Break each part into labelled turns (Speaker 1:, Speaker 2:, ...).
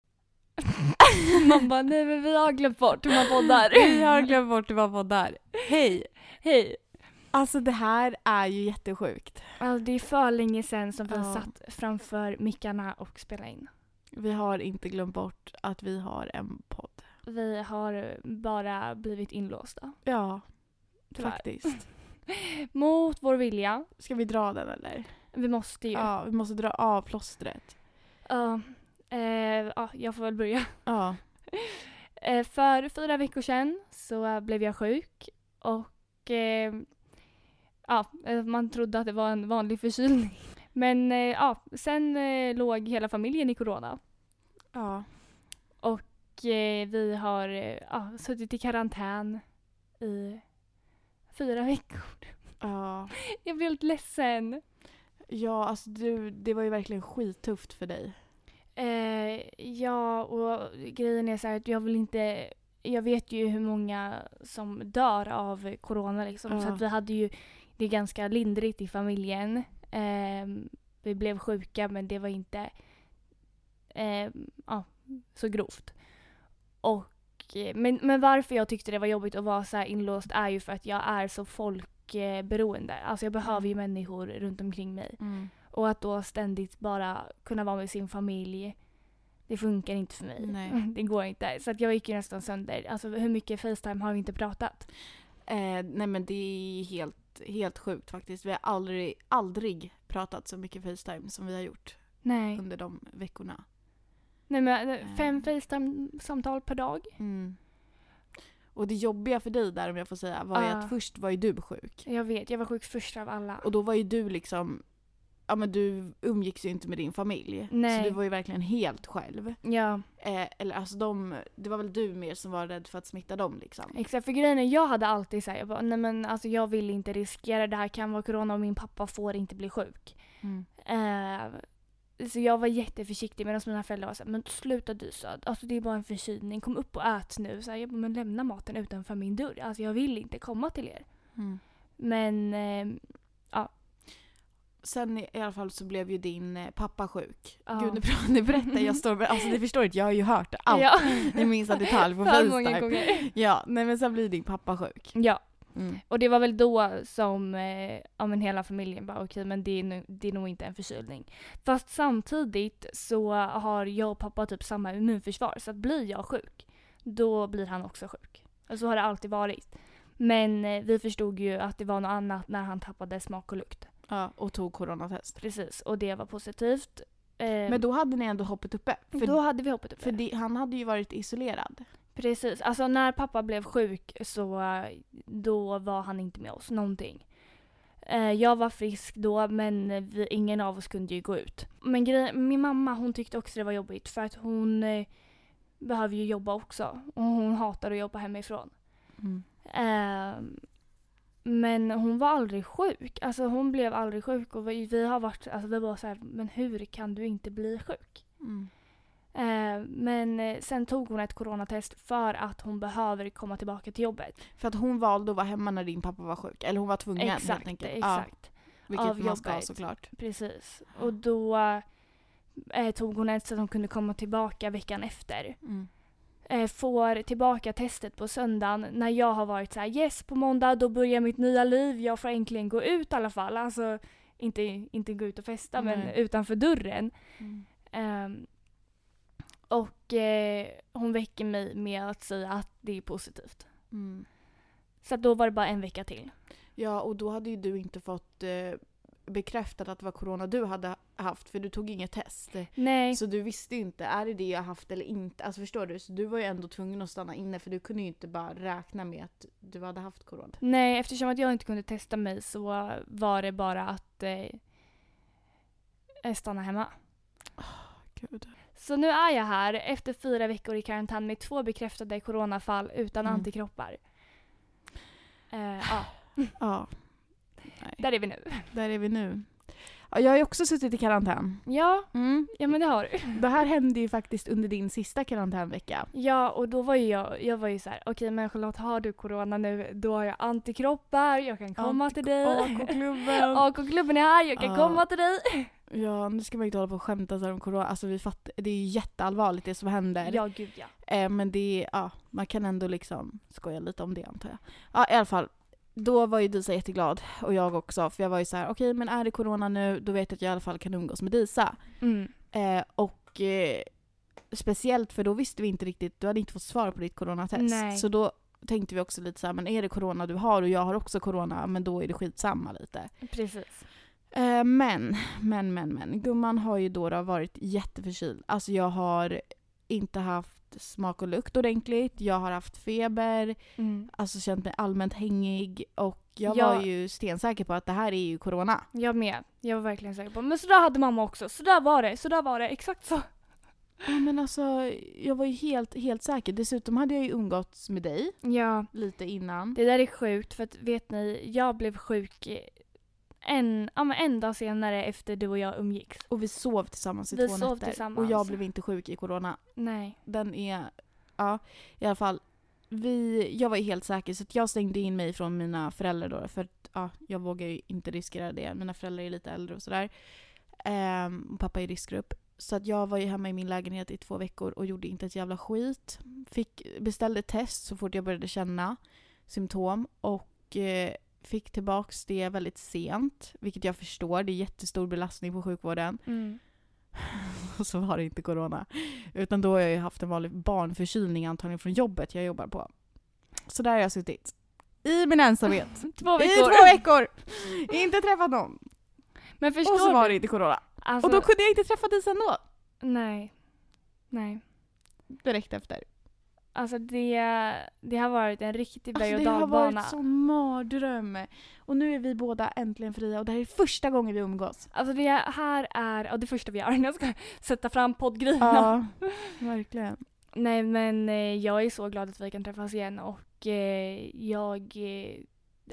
Speaker 1: Man bara, nej men vi har glömt bort hur man poddar.
Speaker 2: Vi har glömt bort hur man poddar. Hej!
Speaker 1: Hej!
Speaker 2: Alltså det här är ju jättesjukt.
Speaker 1: Alltså, det är för länge sedan som vi
Speaker 2: Ja.
Speaker 1: satt framför mickarna och spelade in.
Speaker 2: Vi har inte glömt bort att vi har en podd.
Speaker 1: Vi har eh, bara blivit inlåsta.
Speaker 2: Ja,
Speaker 1: Tyvärr.
Speaker 2: faktiskt.
Speaker 1: Mot vår vilja.
Speaker 2: Ska vi dra den eller?
Speaker 1: Vi måste ju. Ja.
Speaker 2: Ja, vi måste dra av plåstret.
Speaker 1: eh, ja, jag får väl börja.
Speaker 2: Ja.
Speaker 1: Eh, för fyra veckor sedan så eh, blev jag sjuk och eh, ja, eh, man trodde att det var en vanlig förkylning. Men eh, ja, sen eh, låg hela familjen i corona.
Speaker 2: Ja.
Speaker 1: Och eh, vi har eh, ja, suttit i karantän i fyra veckor.
Speaker 2: Ja.
Speaker 1: Jag blev helt ledsen.
Speaker 2: Ja, alltså du, det var ju verkligen skittufft för dig.
Speaker 1: Eh, ja, och grejen är så här att jag vill inte... Jag vet ju hur många som dör av corona liksom. Så
Speaker 2: Ja.
Speaker 1: att vi hade ju det ganska lindrigt i familjen. Ehm, vi blev sjuka men det var inte ehm, ja, så grovt. Och, eh, men, men varför jag tyckte det var jobbigt att vara så här inlåst är ju för att jag är så folkberoende. Alltså jag behöver ju människor runt omkring mig. Och att då ständigt bara kunna vara med sin familj, det funkar inte för mig.
Speaker 2: Nej.
Speaker 1: Det går inte. Så att jag gick ju nästan sönder. Alltså hur mycket Facetime har vi inte pratat?
Speaker 2: Eh, nej men det är helt, helt sjukt faktiskt. Vi har aldrig, aldrig pratat så mycket Facetime som vi har gjort
Speaker 1: Nej.
Speaker 2: under de veckorna.
Speaker 1: Nej men eh, fem
Speaker 2: Eh.
Speaker 1: Facetime-samtal per dag.
Speaker 2: Och det jobbiga för dig där om jag får säga var ju
Speaker 1: Ah.
Speaker 2: att först var ju du sjuk.
Speaker 1: Jag vet, jag var sjuk först av alla.
Speaker 2: Och då var ju du liksom, ja men du umgicks ju inte med din familj.
Speaker 1: Nej.
Speaker 2: Så du var ju verkligen helt själv.
Speaker 1: Ja,
Speaker 2: Eh, eller alltså de, det var väl du mer som var rädd för att smitta dem liksom.
Speaker 1: exakt. För grejen är, jag hade alltid såhär, jag bara, nej men alltså jag vill inte riskera det här kan vara corona och min pappa får inte bli sjuk.
Speaker 2: Mm.
Speaker 1: Eh, så jag var jätteförsiktig medan mina föräldrar var såhär, men sluta du Söd. Alltså det är bara en förkylning, kom upp och ät nu. Så här, jag bara, men lämna maten utanför min dörr. Alltså jag vill inte komma till er. Men eh,
Speaker 2: Sen i i alla fall så blev ju din eh, pappa sjuk.
Speaker 1: Ja.
Speaker 2: Gud nu, pra- nu berättar jag, står, med- alltså ni förstår inte, jag har ju hört allt
Speaker 1: ja.
Speaker 2: i minsta detalj på
Speaker 1: För många
Speaker 2: Facetime.
Speaker 1: gånger.
Speaker 2: Ja, nej men sen blir din pappa sjuk. Mm.
Speaker 1: Ja, och det var väl då som eh, ja, men hela familjen bara okej men det är, nu, det är nog inte en förkylning. Fast samtidigt så har jag och pappa typ samma immunförsvar så att blir jag sjuk då blir han också sjuk. Och så har det alltid varit. Men eh, vi förstod ju att det var något annat när han tappade smak och lukt.
Speaker 2: Ja, och tog coronatest.
Speaker 1: Precis, och det var positivt. Eh, men
Speaker 2: Men
Speaker 1: då,
Speaker 2: då hade ni ändå hoppet uppe. För,
Speaker 1: hade vi hoppet uppe.
Speaker 2: för det, han hade ju varit isolerad.
Speaker 1: Precis, alltså när pappa blev sjuk så eh, då var han inte med oss någonting. Eh, Jag var frisk då men vi, ingen av oss kunde ju gå ut. Men grejen, min mamma hon tyckte också det var jobbigt för att hon eh, behöver ju jobba också och hon hatar att jobba hemifrån. Mm. Ehm, men hon var aldrig sjuk. Alltså hon blev aldrig sjuk och vi, vi har varit, alltså vi var så här, men hur kan du inte bli sjuk?
Speaker 2: Mm.
Speaker 1: Ehm, men eh, sen tog hon ett coronatest för att hon behöver komma tillbaka till jobbet.
Speaker 2: För att hon valde att vara hemma när din pappa var sjuk. Eller hon var tvungen helt
Speaker 1: exakt,
Speaker 2: enkelt.
Speaker 1: exakt.
Speaker 2: Ja, vilket
Speaker 1: Av
Speaker 2: man ska
Speaker 1: jobbet.
Speaker 2: såklart.
Speaker 1: Precis. Och då eh, tog hon ett så att hon kunde komma tillbaka veckan efter.
Speaker 2: Mm.
Speaker 1: eh, får tillbaka testet på söndagen när jag har varit så här: yes på måndag då börjar mitt nya liv, jag får äntligen gå ut i alla fall. Alltså inte, inte gå ut och festa men
Speaker 2: Nej.
Speaker 1: utanför dörren. Ehm, och eh, hon väcker mig med att säga att det är positivt. Så att då var det bara en vecka till.
Speaker 2: Mm. Ja, och då hade ju du inte fått eh, bekräftat att det var corona du hade haft. För du tog inget test.
Speaker 1: Nej,
Speaker 2: Så du visste ju inte, är det det jag haft eller inte? Alltså förstår du? Så du var ju ändå tvungen att stanna inne för du kunde ju inte bara räkna med att du hade haft corona.
Speaker 1: nej eftersom att jag inte kunde testa mig så var det bara att eh, eh, stanna hemma.
Speaker 2: Gud.
Speaker 1: Så nu är jag här efter fyra veckor i karantän med två bekräftade coronafall utan
Speaker 2: Mm.
Speaker 1: antikroppar. Eh, ja,
Speaker 2: Ja,
Speaker 1: där är vi nu.
Speaker 2: där är vi nu. Ja, jag har ju också suttit i karantän.
Speaker 1: Ja, ja men det har du.
Speaker 2: Det här hände ju faktiskt under din sista karantänvecka.
Speaker 1: Ja, och då var ju jag, jag var ju så här, okej men Charlotte har du corona nu, då har jag antikroppar, Ah, jag kan komma till dig.
Speaker 2: AK-klubben.
Speaker 1: AK-klubben är här, jag kan
Speaker 2: Ja.
Speaker 1: komma till dig.
Speaker 2: Ja, nu ska man inte hålla på och skämta så här om corona. Alltså vi fattar, det är ju jätteallvarligt det som händer.
Speaker 1: Ja, gud ja.
Speaker 2: Eh, men det är, ja, man kan ändå liksom skoja lite om det antar jag. Ja, i alla fall. Då var ju Disa jätteglad och jag också för jag var ju så här: okej men är det corona nu då vet jag att jag i alla fall kan umgås med Disa.
Speaker 1: Mm.
Speaker 2: Eh, och eh, speciellt för då visste vi inte riktigt, du hade inte fått svar på ditt coronatest.
Speaker 1: Nej.
Speaker 2: Så då tänkte vi också lite så här, men är det corona du har och jag har också corona, men då är det skitsamma lite.
Speaker 1: Precis.
Speaker 2: Eh, men, men, men, men. Gumman har ju då, då varit jätteförkyld. Alltså jag har inte haft smak och lukt ordentligt. Jag har haft feber,
Speaker 1: Mm.
Speaker 2: alltså känt mig allmänt hängig och jag
Speaker 1: Ja.
Speaker 2: var ju stensäker på att det här är ju corona.
Speaker 1: Jag med. Jag var verkligen säker på. Men så där hade mamma också. Så där var det. Så där var det. Exakt så.
Speaker 2: Ja, men alltså jag var ju helt, helt säker. Dessutom hade jag ju umgåtts med dig
Speaker 1: Ja.
Speaker 2: lite innan.
Speaker 1: Det där är sjukt för att vet ni, jag blev sjuk eh, en, ja, men en dag senare efter du och jag umgicks.
Speaker 2: Och vi sov tillsammans i
Speaker 1: Vi
Speaker 2: två
Speaker 1: sov
Speaker 2: nätter.
Speaker 1: tillsammans.
Speaker 2: Och jag blev inte sjuk i corona.
Speaker 1: Nej.
Speaker 2: Den är, ja i alla fall. Vi, jag var ju helt säker så att jag stängde in mig från mina föräldrar då för att ja, jag vågar ju inte riskera det. Mina föräldrar är lite äldre och sådär. Ehm, och pappa är i riskgrupp. Så att jag var ju hemma i min lägenhet i två veckor och gjorde inte ett jävla skit. Fick, beställde test så fort jag började känna symptom och eh, fick tillbaks det väldigt sent. Vilket jag förstår, det är jättestor belastning på sjukvården.
Speaker 1: Mm.
Speaker 2: Och så var det inte corona. Utan då har jag ju haft en vanlig barnförkylning antagligen från jobbet jag jobbar på. Så där har jag suttit. I min ensamhet.
Speaker 1: Två
Speaker 2: I
Speaker 1: veckor.
Speaker 2: två veckor! Inte träffat någon.
Speaker 1: Men förstår
Speaker 2: Och så var
Speaker 1: du?
Speaker 2: det inte corona.
Speaker 1: Alltså,
Speaker 2: Och då kunde jag inte träffa Disa ändå.
Speaker 1: Nej. Nej.
Speaker 2: Direkt efter.
Speaker 1: Alltså det, det har varit en riktig berg
Speaker 2: Alltså,
Speaker 1: och
Speaker 2: det har
Speaker 1: dalbana.
Speaker 2: varit sån mardröm. Och nu är vi båda äntligen fria och det här är första gången vi umgås.
Speaker 1: Alltså det här är, ja det första vi gör när jag ska sätta fram poddgrejerna.
Speaker 2: Ja, verkligen.
Speaker 1: Nej men eh, jag är så glad att vi kan träffas igen och eh, jag, eh,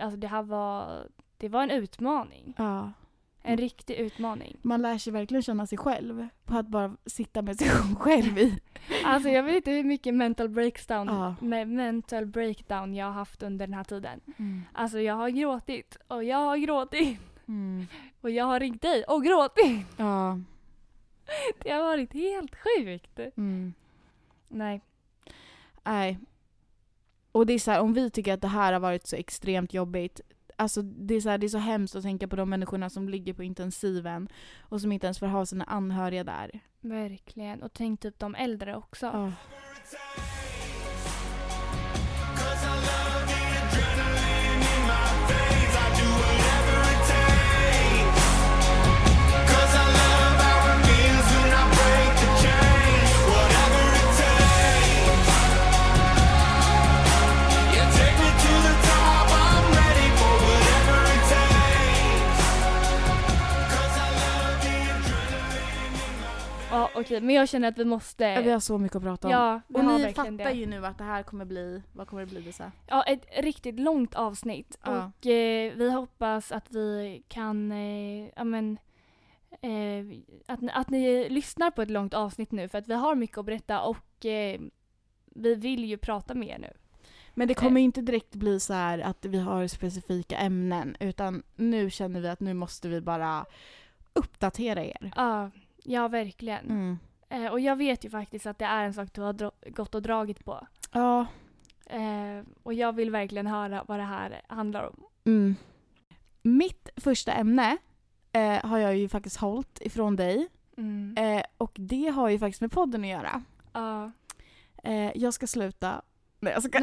Speaker 1: alltså det här var, det var en utmaning.
Speaker 2: Ja.
Speaker 1: En riktig utmaning.
Speaker 2: Man lär sig verkligen känna sig själv på att bara sitta med sig själv i
Speaker 1: Alltså jag vet inte hur mycket mental breakdown,
Speaker 2: Ja.
Speaker 1: med mental breakdown jag har haft under den här tiden. Alltså jag har gråtit och jag har gråtit
Speaker 2: Mm.
Speaker 1: och jag har ringt dig och gråtit.
Speaker 2: Ja.
Speaker 1: Det har varit helt sjukt.
Speaker 2: Mm.
Speaker 1: Nej.
Speaker 2: Nej. Och det är så här, om vi tycker att det här har varit så extremt jobbigt. Alltså det är, så här, det är så hemskt att tänka på de människorna som ligger på intensiven och som inte ens får ha sina anhöriga där.
Speaker 1: Verkligen. Och tänk typ de äldre också.
Speaker 2: Ja.
Speaker 1: Ja okej men jag känner att vi måste.
Speaker 2: Vi har så mycket att prata om.
Speaker 1: Ja, vi
Speaker 2: och
Speaker 1: har
Speaker 2: ni
Speaker 1: verkligen
Speaker 2: fattar
Speaker 1: det.
Speaker 2: ju nu att det här kommer bli, vad kommer det bli Lisa?
Speaker 1: Ja, ett riktigt långt avsnitt.
Speaker 2: Ja.
Speaker 1: Och eh, vi hoppas att vi kan, eh, ja men, eh, att, ni- att ni lyssnar på ett långt avsnitt nu för att vi har mycket att berätta och eh, vi vill ju prata med er nu.
Speaker 2: Men det kommer ju inte direkt bli så här att vi har specifika ämnen utan nu känner vi att nu måste vi bara uppdatera er.
Speaker 1: Ja, ja verkligen.
Speaker 2: Mm.
Speaker 1: Eh, och jag vet ju faktiskt att det är en sak du har dra- gått och dragit på.
Speaker 2: Ja,
Speaker 1: Eh, och jag vill verkligen höra vad det här handlar om.
Speaker 2: Mm. Mitt första ämne eh, har jag ju faktiskt hållit ifrån dig
Speaker 1: Mm.
Speaker 2: eh, och det har ju faktiskt med podden att göra.
Speaker 1: Ja.
Speaker 2: Eh, jag ska sluta... Nej jag ska...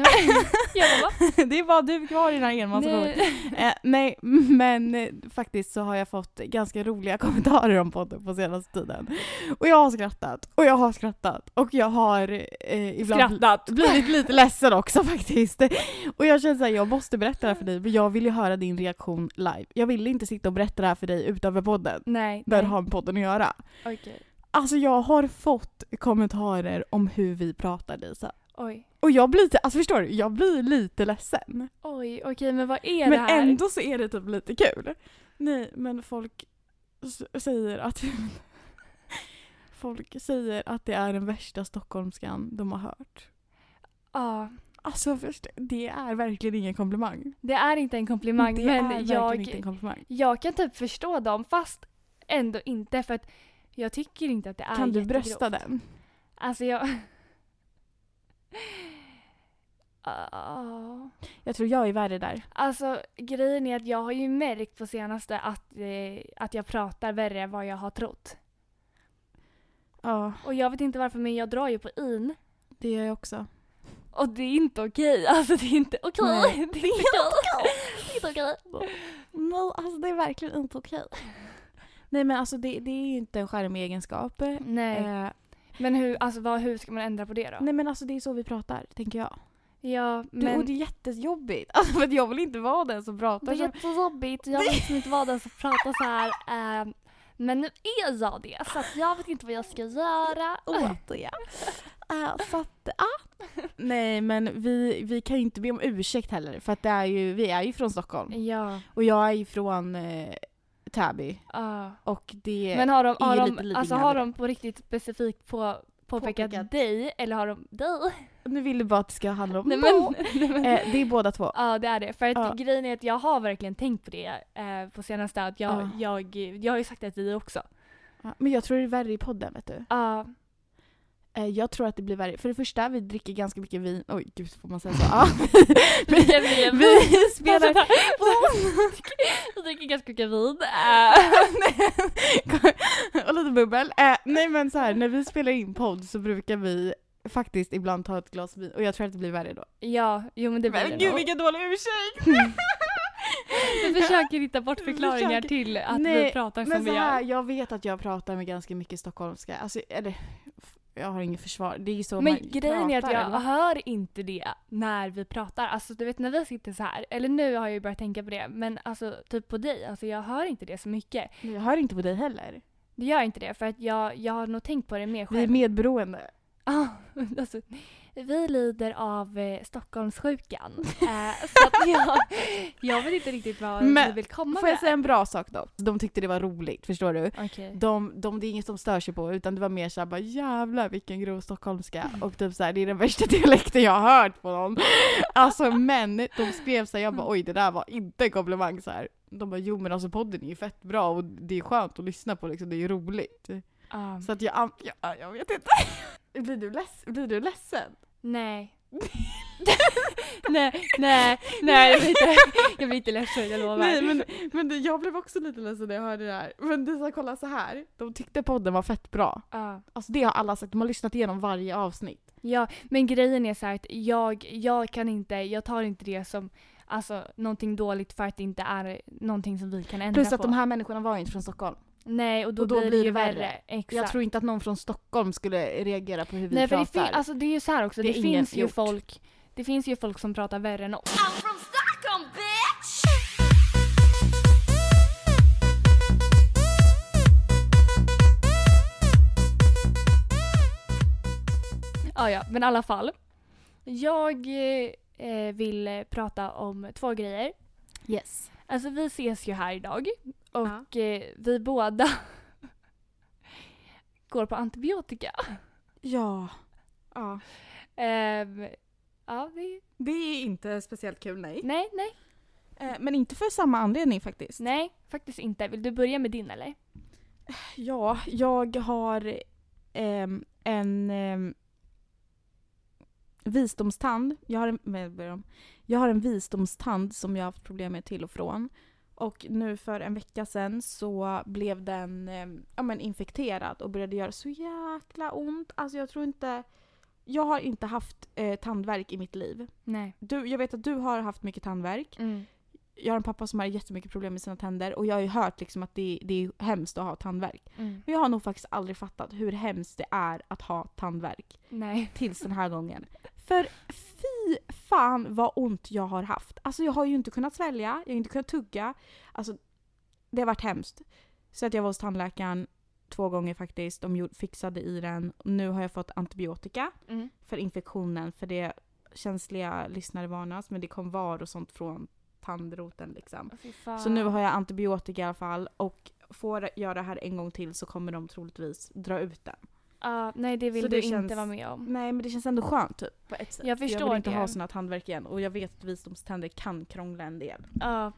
Speaker 1: Jag bara,
Speaker 2: det är bara du kvar i den här
Speaker 1: va?
Speaker 2: enmansrollen.
Speaker 1: Nej.
Speaker 2: Eh, nej men eh, faktiskt så har jag fått ganska roliga kommentarer om podden på senaste tiden. Och jag har skrattat och jag har skrattat och jag har eh, ibland
Speaker 1: Skrattat.
Speaker 2: blivit lite ledsen också faktiskt. Och jag känner såhär, jag måste berätta det här för dig för jag vill ju höra din reaktion live. Jag vill inte sitta och berätta det här för dig utanför podden.
Speaker 1: Nej.
Speaker 2: Där
Speaker 1: nej.
Speaker 2: har podden att göra.
Speaker 1: Okej.
Speaker 2: Alltså jag har fått kommentarer om hur vi pratar Lisa.
Speaker 1: Oj.
Speaker 2: Och jag blir lite, alltså förstår du? Jag blir lite ledsen.
Speaker 1: Oj, okej men vad är det
Speaker 2: Men
Speaker 1: här?
Speaker 2: ändå så är det typ lite kul. Nej men folk s- säger att Folk säger att det är den värsta stockholmskan de har hört.
Speaker 1: Ja,
Speaker 2: Alltså först, det är verkligen ingen komplimang.
Speaker 1: det är inte en komplimang
Speaker 2: det är
Speaker 1: men
Speaker 2: verkligen
Speaker 1: jag,
Speaker 2: inte en komplimang.
Speaker 1: jag kan typ förstå dem fast ändå inte för att jag tycker inte att det är
Speaker 2: Kan du
Speaker 1: jättegrovt.
Speaker 2: brösta den?
Speaker 1: Alltså jag... Ja.
Speaker 2: Jag tror jag är värre där.
Speaker 1: Alltså grejen är att jag har ju märkt på senaste att, eh, att jag pratar värre än vad jag har trott.
Speaker 2: Ja,
Speaker 1: Och jag vet inte varför men jag drar ju på in.
Speaker 2: det gör jag också.
Speaker 1: Och det är inte okej. Alltså det är inte okej.
Speaker 2: Nej,
Speaker 1: Det är inte okej. Det är inte okej.
Speaker 2: Nej, alltså det är verkligen inte okej. Nej men alltså det, det är ju inte en charmig egenskap.
Speaker 1: Nej.
Speaker 2: Eh,
Speaker 1: Men hur, alltså, vad, hur ska man ändra på det då?
Speaker 2: nej men alltså det är så vi pratar, tänker jag.
Speaker 1: Ja,
Speaker 2: Du,
Speaker 1: men...
Speaker 2: Och det är jättejobbigt. Alltså för att jag vill inte vara den som pratar
Speaker 1: Det är
Speaker 2: som...
Speaker 1: jättejobbigt. Jag vill liksom inte vara den som pratar så här. ehm, men nu är jag det. Så att jag vet inte vad jag ska göra.
Speaker 2: åt det. Eh, så att, ah. Nej men vi, vi kan ju inte be om ursäkt heller för att det är ju, vi är ju från Stockholm.
Speaker 1: Ja.
Speaker 2: Och jag är ju från eh, Täby.
Speaker 1: ja.
Speaker 2: Och det...
Speaker 1: Men har de,
Speaker 2: är
Speaker 1: har
Speaker 2: ju
Speaker 1: de,
Speaker 2: lite lidingö
Speaker 1: alltså, har
Speaker 2: med
Speaker 1: de på riktigt specifikt på, påpekat
Speaker 2: Påpekat.
Speaker 1: dig eller har de dig?
Speaker 2: nu vill du bara att det ska handla om
Speaker 1: Nej,
Speaker 2: Nå.
Speaker 1: men, nej, men,
Speaker 2: Eh, det är båda två.
Speaker 1: ja det är det. För att
Speaker 2: Ja.
Speaker 1: grejen är att jag har verkligen tänkt på det eh, på senaste att jag,
Speaker 2: Ja.
Speaker 1: jag, jag har ju sagt det till dig också.
Speaker 2: Ja, Men jag tror det är värre i podden vet du.
Speaker 1: Ja.
Speaker 2: Eh, jag tror att det blir värre. För det första, vi dricker ganska mycket vin. Oj gud, får man säga så? Ja. vi,
Speaker 1: Det blir-
Speaker 2: vi spelar...
Speaker 1: Alltså, Jag dricker ganska mycket vin. eh.
Speaker 2: Eh, och lite bubbel. Eh, nej men så här, när vi spelar in podd så brukar vi faktiskt ibland ta ett glas vin och jag tror att det blir värre då.
Speaker 1: ja, jo men det blir det
Speaker 2: men gud
Speaker 1: nog.
Speaker 2: vilken dålig ursäkt!
Speaker 1: Vi försöker hitta bort
Speaker 2: Vi
Speaker 1: förklaringar
Speaker 2: försöker.
Speaker 1: till att vi
Speaker 2: Nej,
Speaker 1: pratar som
Speaker 2: men
Speaker 1: vi
Speaker 2: så här,
Speaker 1: gör.
Speaker 2: jag vet att jag pratar med ganska mycket stockholmska. Alltså, eller, f- jag har ingen försvar. Det är ju så man
Speaker 1: Men grejen är att
Speaker 2: pratar,
Speaker 1: jag
Speaker 2: eller?
Speaker 1: hör inte det när vi pratar. Alltså du vet när vi sitter så här, eller nu har jag ju börjat tänka på det, men alltså typ på dig, alltså jag hör inte det så mycket.
Speaker 2: Jag hör inte på dig heller.
Speaker 1: Det gör inte det för att jag, jag har nog tänkt på det mer
Speaker 2: Vi är
Speaker 1: själv.
Speaker 2: medberoende.
Speaker 1: Ja, alltså, vi lider av eh, Stockholmssjukan. eh, så att jag, jag vet inte riktigt vad
Speaker 2: Men,
Speaker 1: vi vill komma
Speaker 2: Får jag
Speaker 1: med.
Speaker 2: säga en bra sak då? De tyckte det var roligt, förstår du?
Speaker 1: Okej.
Speaker 2: De, de, det är inget de stör sig på utan det var mer såhär bara jävlar vilken grov stockholmska och typ såhär det är den värsta dialekten jag har hört på någon. Alltså men de skrev såhär jag bara oj det där var inte en komplimang såhär. De bara jo men alltså podden är ju fett bra och det är skönt att lyssna på liksom det är ju roligt.
Speaker 1: Ja.
Speaker 2: Så att jag, an- jag, jag vet inte. Blir du, leds, blir du ledsen?
Speaker 1: Nej. nej, nej, nej jag blir inte, jag blir inte ledsen, jag lovar.
Speaker 2: Nej men, men det, jag blev också lite ledsen när jag hörde det här. Men det så här, kolla så här. de tyckte podden var fett bra.
Speaker 1: Ja.
Speaker 2: Alltså det har alla sagt, de har lyssnat igenom varje avsnitt.
Speaker 1: ja, men grejen är så här att jag, jag kan inte, jag tar inte det som alltså, någonting dåligt för att det inte är någonting som vi kan ändra
Speaker 2: Plus att
Speaker 1: på.
Speaker 2: de här människorna var ju inte från Stockholm.
Speaker 1: Nej, och då,
Speaker 2: och
Speaker 1: blir det ju värre. Exakt.
Speaker 2: Jag tror inte att någon från Stockholm skulle reagera på hur vi
Speaker 1: Nej, för det,
Speaker 2: pratar.
Speaker 1: fin- alltså, det är ju så här också,
Speaker 2: Det
Speaker 1: det,
Speaker 2: är ingen
Speaker 1: finns ju
Speaker 2: gjort.
Speaker 1: folk det finns ju folk som pratar värre än oss.
Speaker 3: I'm from Stockholm, bitch!
Speaker 1: Ja, ja, men i alla fall. Jag eh, vill eh, prata om två grejer.
Speaker 2: yes.
Speaker 1: Alltså vi ses ju här idag och eh, vi båda går på antibiotika.
Speaker 2: Ja. ja.
Speaker 1: Ehm, ja, det,
Speaker 2: Det är inte speciellt kul nej.
Speaker 1: nej, nej,
Speaker 2: Eh, Men inte för samma anledning faktiskt.
Speaker 1: nej, faktiskt inte. Vill du börja med din eller?
Speaker 2: Ja, jag har ehm, en ehm, visdomstand. Jag har en, men jag börjar om. jag har en visdomstand som jag har haft problem med till och från. Och nu för en vecka sedan så blev den ehm, ja, men infekterad och började göra så jäkla ont. Alltså jag tror inte... Jag har inte haft eh, tandvärk i mitt liv.
Speaker 1: Nej.
Speaker 2: Du, jag vet att du har haft mycket tandvärk
Speaker 1: Mm.
Speaker 2: jag har en pappa som har jättemycket problem med sina tänder och jag har ju hört liksom att det, det är hemskt att ha tandvärk.
Speaker 1: Mm.
Speaker 2: Men jag har nog faktiskt aldrig fattat hur hemskt det är att ha tandvärk.
Speaker 1: Nej.
Speaker 2: Tills den här gången. För fy fan vad ont jag har haft. Alltså jag har ju inte kunnat svälja, jag har inte kunnat tugga. Alltså det har varit hemskt. Så att jag var hos tandläkaren två gånger faktiskt. De gjorde, fixade i den. Nu har jag fått antibiotika
Speaker 1: Mm.
Speaker 2: för infektionen. För det känsliga lyssnare varnas men det kom var och sånt från tandroten liksom.
Speaker 1: Fy fan.
Speaker 2: Så nu har jag antibiotika i alla fall och får jag det här en gång till så kommer de troligtvis dra ut den.
Speaker 1: Ja, nej, det vill
Speaker 2: Så
Speaker 1: du
Speaker 2: det
Speaker 1: inte
Speaker 2: känns-
Speaker 1: vara med om.
Speaker 2: Nej men det känns ändå skönt typ. På ett sätt.
Speaker 1: Jag
Speaker 2: För jag
Speaker 1: förstår
Speaker 2: vill inte
Speaker 1: det.
Speaker 2: ha såna tandvärk igen och jag vet att visdomständer kan krångla en del.
Speaker 1: Ja.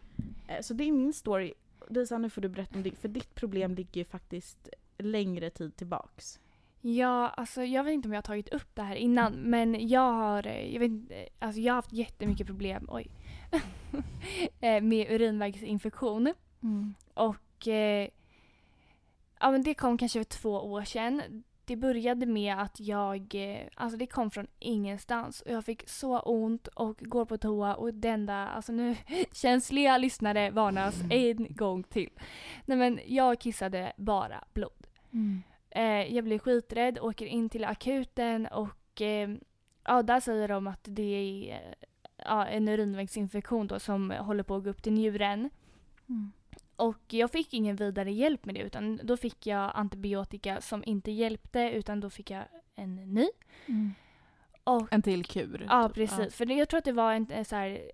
Speaker 2: Eh, Så det är min story.
Speaker 4: Lisa, nu får du berätta om det. För ditt problem ligger ju faktiskt längre tid tillbaks.
Speaker 1: Ja, alltså jag vet inte om jag har tagit upp det här innan men jag har, eh, jag vet inte, alltså jag har haft jättemycket problem, oj, eh, med urinvägsinfektion. Och eh, ja, men det kom kanske för två år sedan. Det började med att jag, eh, alltså det kom från ingenstans och jag fick så ont och går på toa och det enda, alltså nu känsliga lyssnare varnas en gång till. Nej men jag kissade bara blod. Eh, jag blir skiträdd, åker in till akuten och eh, ja, där säger de att det är eh, ja, en urinvägsinfektion då som håller på att gå upp till njuren. Och jag fick ingen vidare hjälp med det utan då fick jag antibiotika som inte hjälpte utan då fick jag en ny. Mm. Och,
Speaker 4: En till kur.
Speaker 1: ja
Speaker 4: typ.
Speaker 1: precis, för det- jag tror att det var en, en så här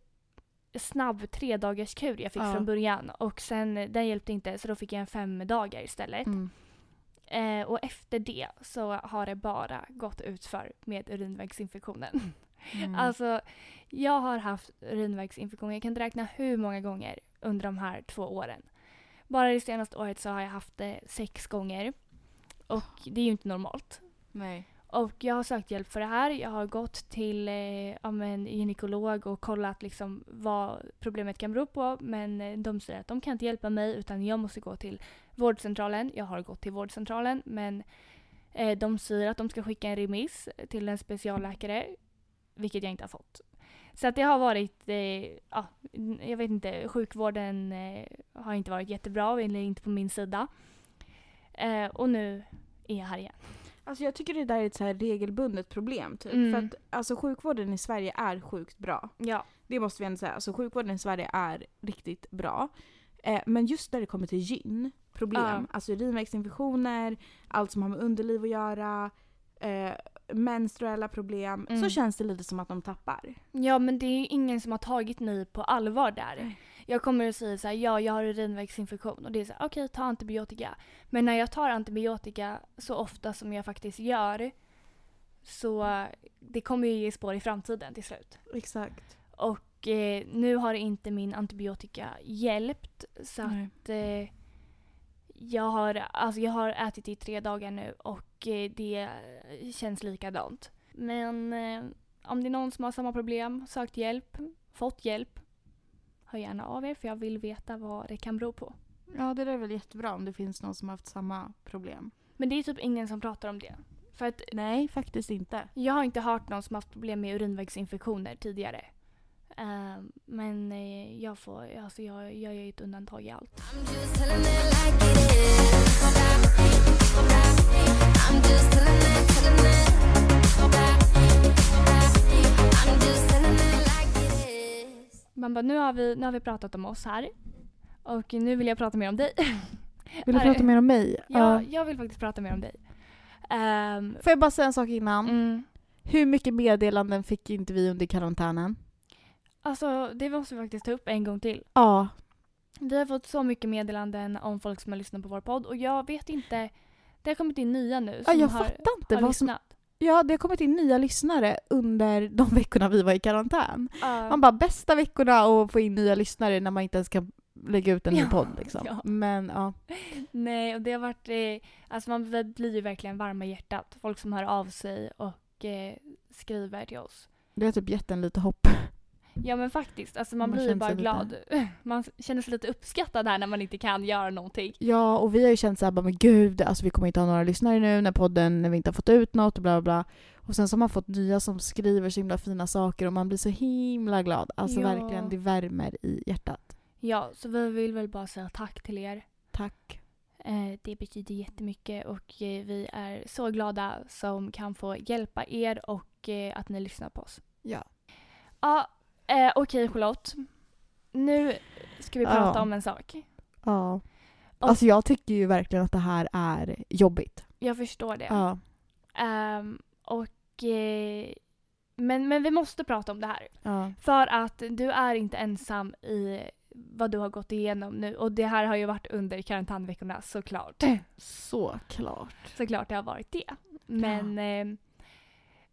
Speaker 1: snabb tredagarskur jag fick
Speaker 4: Ja.
Speaker 1: från början och sen eh, den hjälpte inte så då fick jag en femdagar istället.
Speaker 4: Mm.
Speaker 1: Eh, och efter det så har det bara gått utför med urinvägsinfektionen.
Speaker 4: Mm.
Speaker 1: Alltså, jag har haft urinvägsinfektion. Jag kan räkna hur många gånger under de här två åren. Bara det senaste året så har jag haft det sex gånger. Och det är ju inte normalt.
Speaker 4: Nej.
Speaker 1: Och jag har sökt hjälp för det här. Jag har gått till eh, ja, men, gynekolog och kollat liksom, vad problemet kan bero på. Men eh, de säger att de kan inte hjälpa mig utan jag måste gå till vårdcentralen. Jag har gått till vårdcentralen men eh, de säger att de ska skicka en remiss till en specialläkare. Vilket jag inte har fått. Så att det har varit, eh, ja, n- jag vet inte, sjukvården eh, har inte varit jättebra eller inte på min sida. Eh, och nu är jag här igen.
Speaker 4: Alltså jag tycker det där är ett så här regelbundet problem. Typ.
Speaker 1: Mm.
Speaker 4: För att alltså, sjukvården i Sverige är sjukt bra.
Speaker 1: Ja.
Speaker 4: Det måste vi ändå säga. Alltså, sjukvården i Sverige är riktigt bra. Eh, men just när det kommer till gyn, problem.
Speaker 1: Ja.
Speaker 4: Alltså urinvägsinfektioner, allt som har med underliv att göra, eh, menstruella problem.
Speaker 1: Mm.
Speaker 4: Så känns det lite som att de tappar.
Speaker 1: Ja men det är ju ingen som har tagit mig på allvar där.
Speaker 4: Nej.
Speaker 1: Jag kommer och säger så här, ja jag har urinvägsinfektion och det är så här, okej ta antibiotika. Men när jag tar antibiotika så ofta som jag faktiskt gör så eh, det kommer ju ge spår i framtiden till slut.
Speaker 4: Exakt.
Speaker 1: Och eh, nu har inte min antibiotika hjälpt så att eh, jag, har, alltså jag har ätit i tre dagar nu och eh, det känns likadant. Men eh, om det är någon som har samma problem, sökt hjälp, fått hjälp, hör gärna av er för jag vill veta vad det kan bero på.
Speaker 4: Ja det där är väl jättebra om det finns någon som har haft samma problem.
Speaker 1: Men det är typ ingen som pratar om det. För att
Speaker 4: Nej faktiskt inte.
Speaker 1: jag har inte hört någon som haft problem med urinvägsinfektioner tidigare. Eh, men eh, jag, får, alltså jag, jag är ett undantag i allt.
Speaker 5: I'm just telling it like it is. I'm just telling it, telling it. I'm just telling it like it is.
Speaker 1: Man bara, nu har, vi, nu har vi pratat om oss här. Och nu vill jag prata mer om dig.
Speaker 4: Vill du
Speaker 1: Är det-
Speaker 4: prata mer om mig?
Speaker 1: Jag, jag vill faktiskt prata mer om dig. Ehm,
Speaker 4: Får jag bara säga en sak innan?
Speaker 1: mm,
Speaker 4: Hur mycket meddelanden fick inte vi under karantänen?
Speaker 1: alltså det måste vi faktiskt ta upp en gång till.
Speaker 4: Ja.
Speaker 1: Vi har fått så mycket meddelanden om folk som har lyssnat på vår podd och jag vet inte. Det har kommit in nya nu
Speaker 4: ja
Speaker 1: som
Speaker 4: jag
Speaker 1: har,
Speaker 4: fattar inte
Speaker 1: har
Speaker 4: vad som...
Speaker 1: lyssnat.
Speaker 4: Ja, det har kommit in nya lyssnare under de veckorna vi var i karantän.
Speaker 1: Ja.
Speaker 4: Man bara bästa veckorna och få in nya lyssnare när man inte ens kan lägga ut en ny
Speaker 1: Ja,
Speaker 4: podd liksom.
Speaker 1: ja.
Speaker 4: Men ja.
Speaker 1: Nej, och det har varit... Eh, alltså man blir ju verkligen varma i hjärtat. Folk som hör av sig och eh, skriver till oss.
Speaker 4: Det har typ gett en lite hopp.
Speaker 1: Ja men faktiskt, alltså man,
Speaker 4: Man
Speaker 1: blir ju
Speaker 4: känner
Speaker 1: bara
Speaker 4: sig
Speaker 1: glad. Man känner sig lite uppskattad här när man inte kan göra någonting.
Speaker 4: Ja, och vi har ju känt såhär bara men gud, alltså vi kommer inte ha några lyssnare nu när podden, när vi inte har fått ut något och bla bla bla. Och sen så har man fått nya som skriver så himla fina saker och man blir så himla glad. Alltså
Speaker 1: Ja.
Speaker 4: verkligen, det värmer i hjärtat.
Speaker 1: Ja, så vi vill väl bara säga tack till er.
Speaker 4: Tack.
Speaker 1: Eh, det betyder jättemycket och eh, vi är så glada som kan få hjälpa er och eh, att ni lyssnar på oss.
Speaker 4: Ja.
Speaker 1: Ja, eh, okej Charlotte. Nu ska vi
Speaker 4: Ja.
Speaker 1: prata om en sak.
Speaker 4: Ja.
Speaker 1: Och-
Speaker 4: Alltså jag tycker ju verkligen att det här är jobbigt.
Speaker 1: Jag förstår det.
Speaker 4: Ja.
Speaker 1: Ehm, och, eh, men, men vi måste prata om det här.
Speaker 4: ja.
Speaker 1: För att du är inte ensam i vad du har gått igenom nu. Och det här har ju varit under karantänveckorna såklart.
Speaker 4: Såklart.
Speaker 1: Såklart det har varit det. Men eh,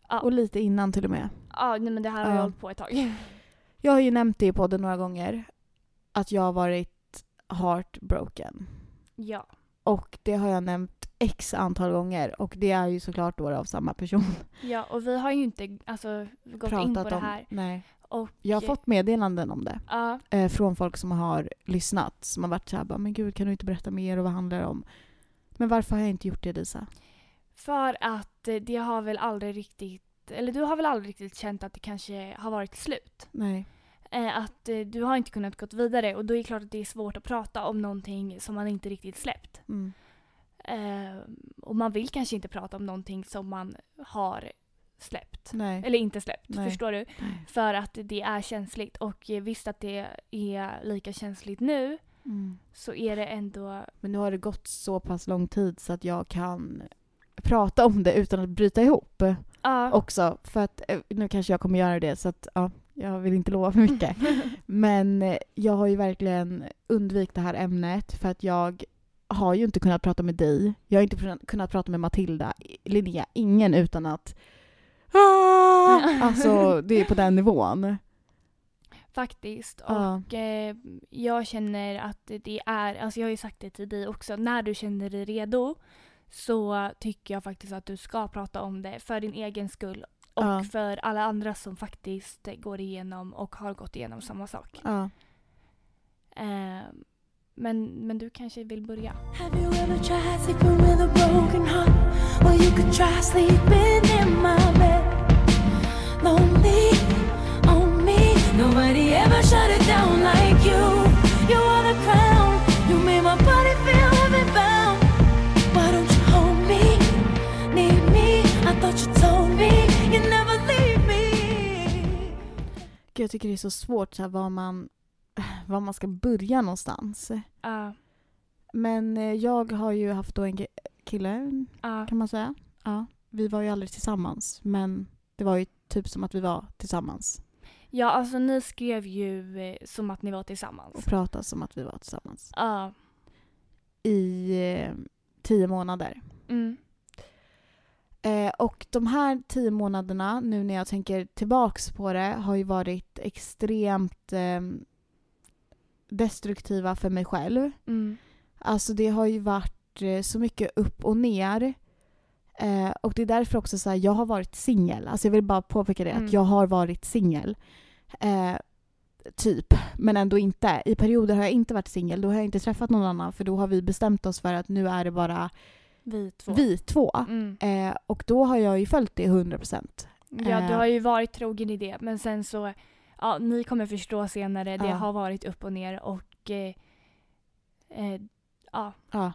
Speaker 1: ja,
Speaker 4: Och lite innan till och med.
Speaker 1: ja, nej, men det här har jag
Speaker 4: Ja.
Speaker 1: hållit på ett tag.
Speaker 4: Jag har ju nämnt det i podden några gånger. Att jag har varit heartbroken.
Speaker 1: Ja.
Speaker 4: Och det har jag nämnt x antal gånger och det är ju såklart då av samma person.
Speaker 1: ja, och vi har ju inte alltså, gått in på det här.
Speaker 4: om. Nej.
Speaker 1: Och,
Speaker 4: Jag har fått meddelanden om det
Speaker 1: Ja,
Speaker 4: eh, från folk som har lyssnat som har varit såhär bara, men gud kan du inte berätta mer och vad handlar det om? Men varför har jag inte gjort det Lisa?
Speaker 1: för att eh, det har väl aldrig riktigt, eller du har väl aldrig riktigt känt att det kanske har varit slut?
Speaker 4: Nej.
Speaker 1: Eh, att eh, du har inte kunnat gått vidare och då är det klart att det är svårt att prata om någonting som man inte riktigt släppt.
Speaker 4: Mm.
Speaker 1: Eh, och man vill kanske inte prata om någonting som man har släppt.
Speaker 4: Nej.
Speaker 1: Eller inte släppt,
Speaker 4: Nej.
Speaker 1: förstår du?
Speaker 4: Nej.
Speaker 1: För att det är känsligt och eh, visst att det är lika känsligt nu
Speaker 4: Mm.
Speaker 1: så är det ändå,
Speaker 4: Men nu har det gått så pass lång tid så att jag kan prata om det utan att bryta ihop
Speaker 1: ja.
Speaker 4: också. För att eh, nu kanske jag kommer göra det så att ja, jag vill inte lova för mycket. Men eh, jag har ju verkligen undvikit det här ämnet för att jag har ju inte kunnat prata med dig. Jag har inte pr- kunnat prata med Matilda, i- Linnea, ingen utan att Ah! Alltså det är på den nivån.
Speaker 1: Faktiskt.
Speaker 4: Ja.
Speaker 1: Och eh, jag känner att det är, alltså jag har ju sagt det till dig också, när du känner dig redo så tycker jag faktiskt att du ska prata om det för din egen skull och
Speaker 4: Ja.
Speaker 1: för alla andra som faktiskt går igenom och har gått igenom samma sak.
Speaker 4: Ja.
Speaker 1: Eh, men, men du kanske vill börja?
Speaker 6: Have you ever tried sleeping with a broken heart? Well, you could try sleeping in my bed. Lonely, on me. Nobody ever shut it down like you. You are the crown. You made my body feel heaven-bound. Why don't you hold me? Need me? I thought you told me you'd never leave me.
Speaker 4: Gud, jag tycker det är så svårt så här, var, man, var man ska börja någonstans.
Speaker 1: Ja,
Speaker 4: Men eh, jag har ju haft då en ki- kille,
Speaker 1: ja,
Speaker 4: kan man säga. Ja. Vi var ju aldrig tillsammans, men det var ju typ som att vi var tillsammans.
Speaker 1: ja, alltså ni skrev ju eh, som att ni var tillsammans.
Speaker 4: Och pratade som att vi var tillsammans.
Speaker 1: Ja.
Speaker 4: I eh, tio månader.
Speaker 1: Mm.
Speaker 4: Eh, och de här tio månaderna, nu när jag tänker tillbaks på det, har ju varit extremt eh, destruktiva för mig själv.
Speaker 1: Mm.
Speaker 4: Alltså det har ju varit eh, så mycket upp och ner. Eh, och det är därför också så här, jag har varit singel. Alltså jag vill bara påpeka det,
Speaker 1: Mm.
Speaker 4: att jag har varit singel. Eh, typ, men ändå inte. I perioder har jag inte varit singel, då har jag inte träffat någon annan för då har vi bestämt oss för att nu är det bara
Speaker 1: Vi två.
Speaker 4: vi två.
Speaker 1: Mm.
Speaker 4: Eh, och då har jag ju följt det 100%.
Speaker 1: Ja, du
Speaker 4: Eh.
Speaker 1: har ju varit trogen i det men sen så, ja ni kommer förstå senare, det
Speaker 4: Ja.
Speaker 1: har varit upp och ner och eh, eh, ja.
Speaker 4: Ja.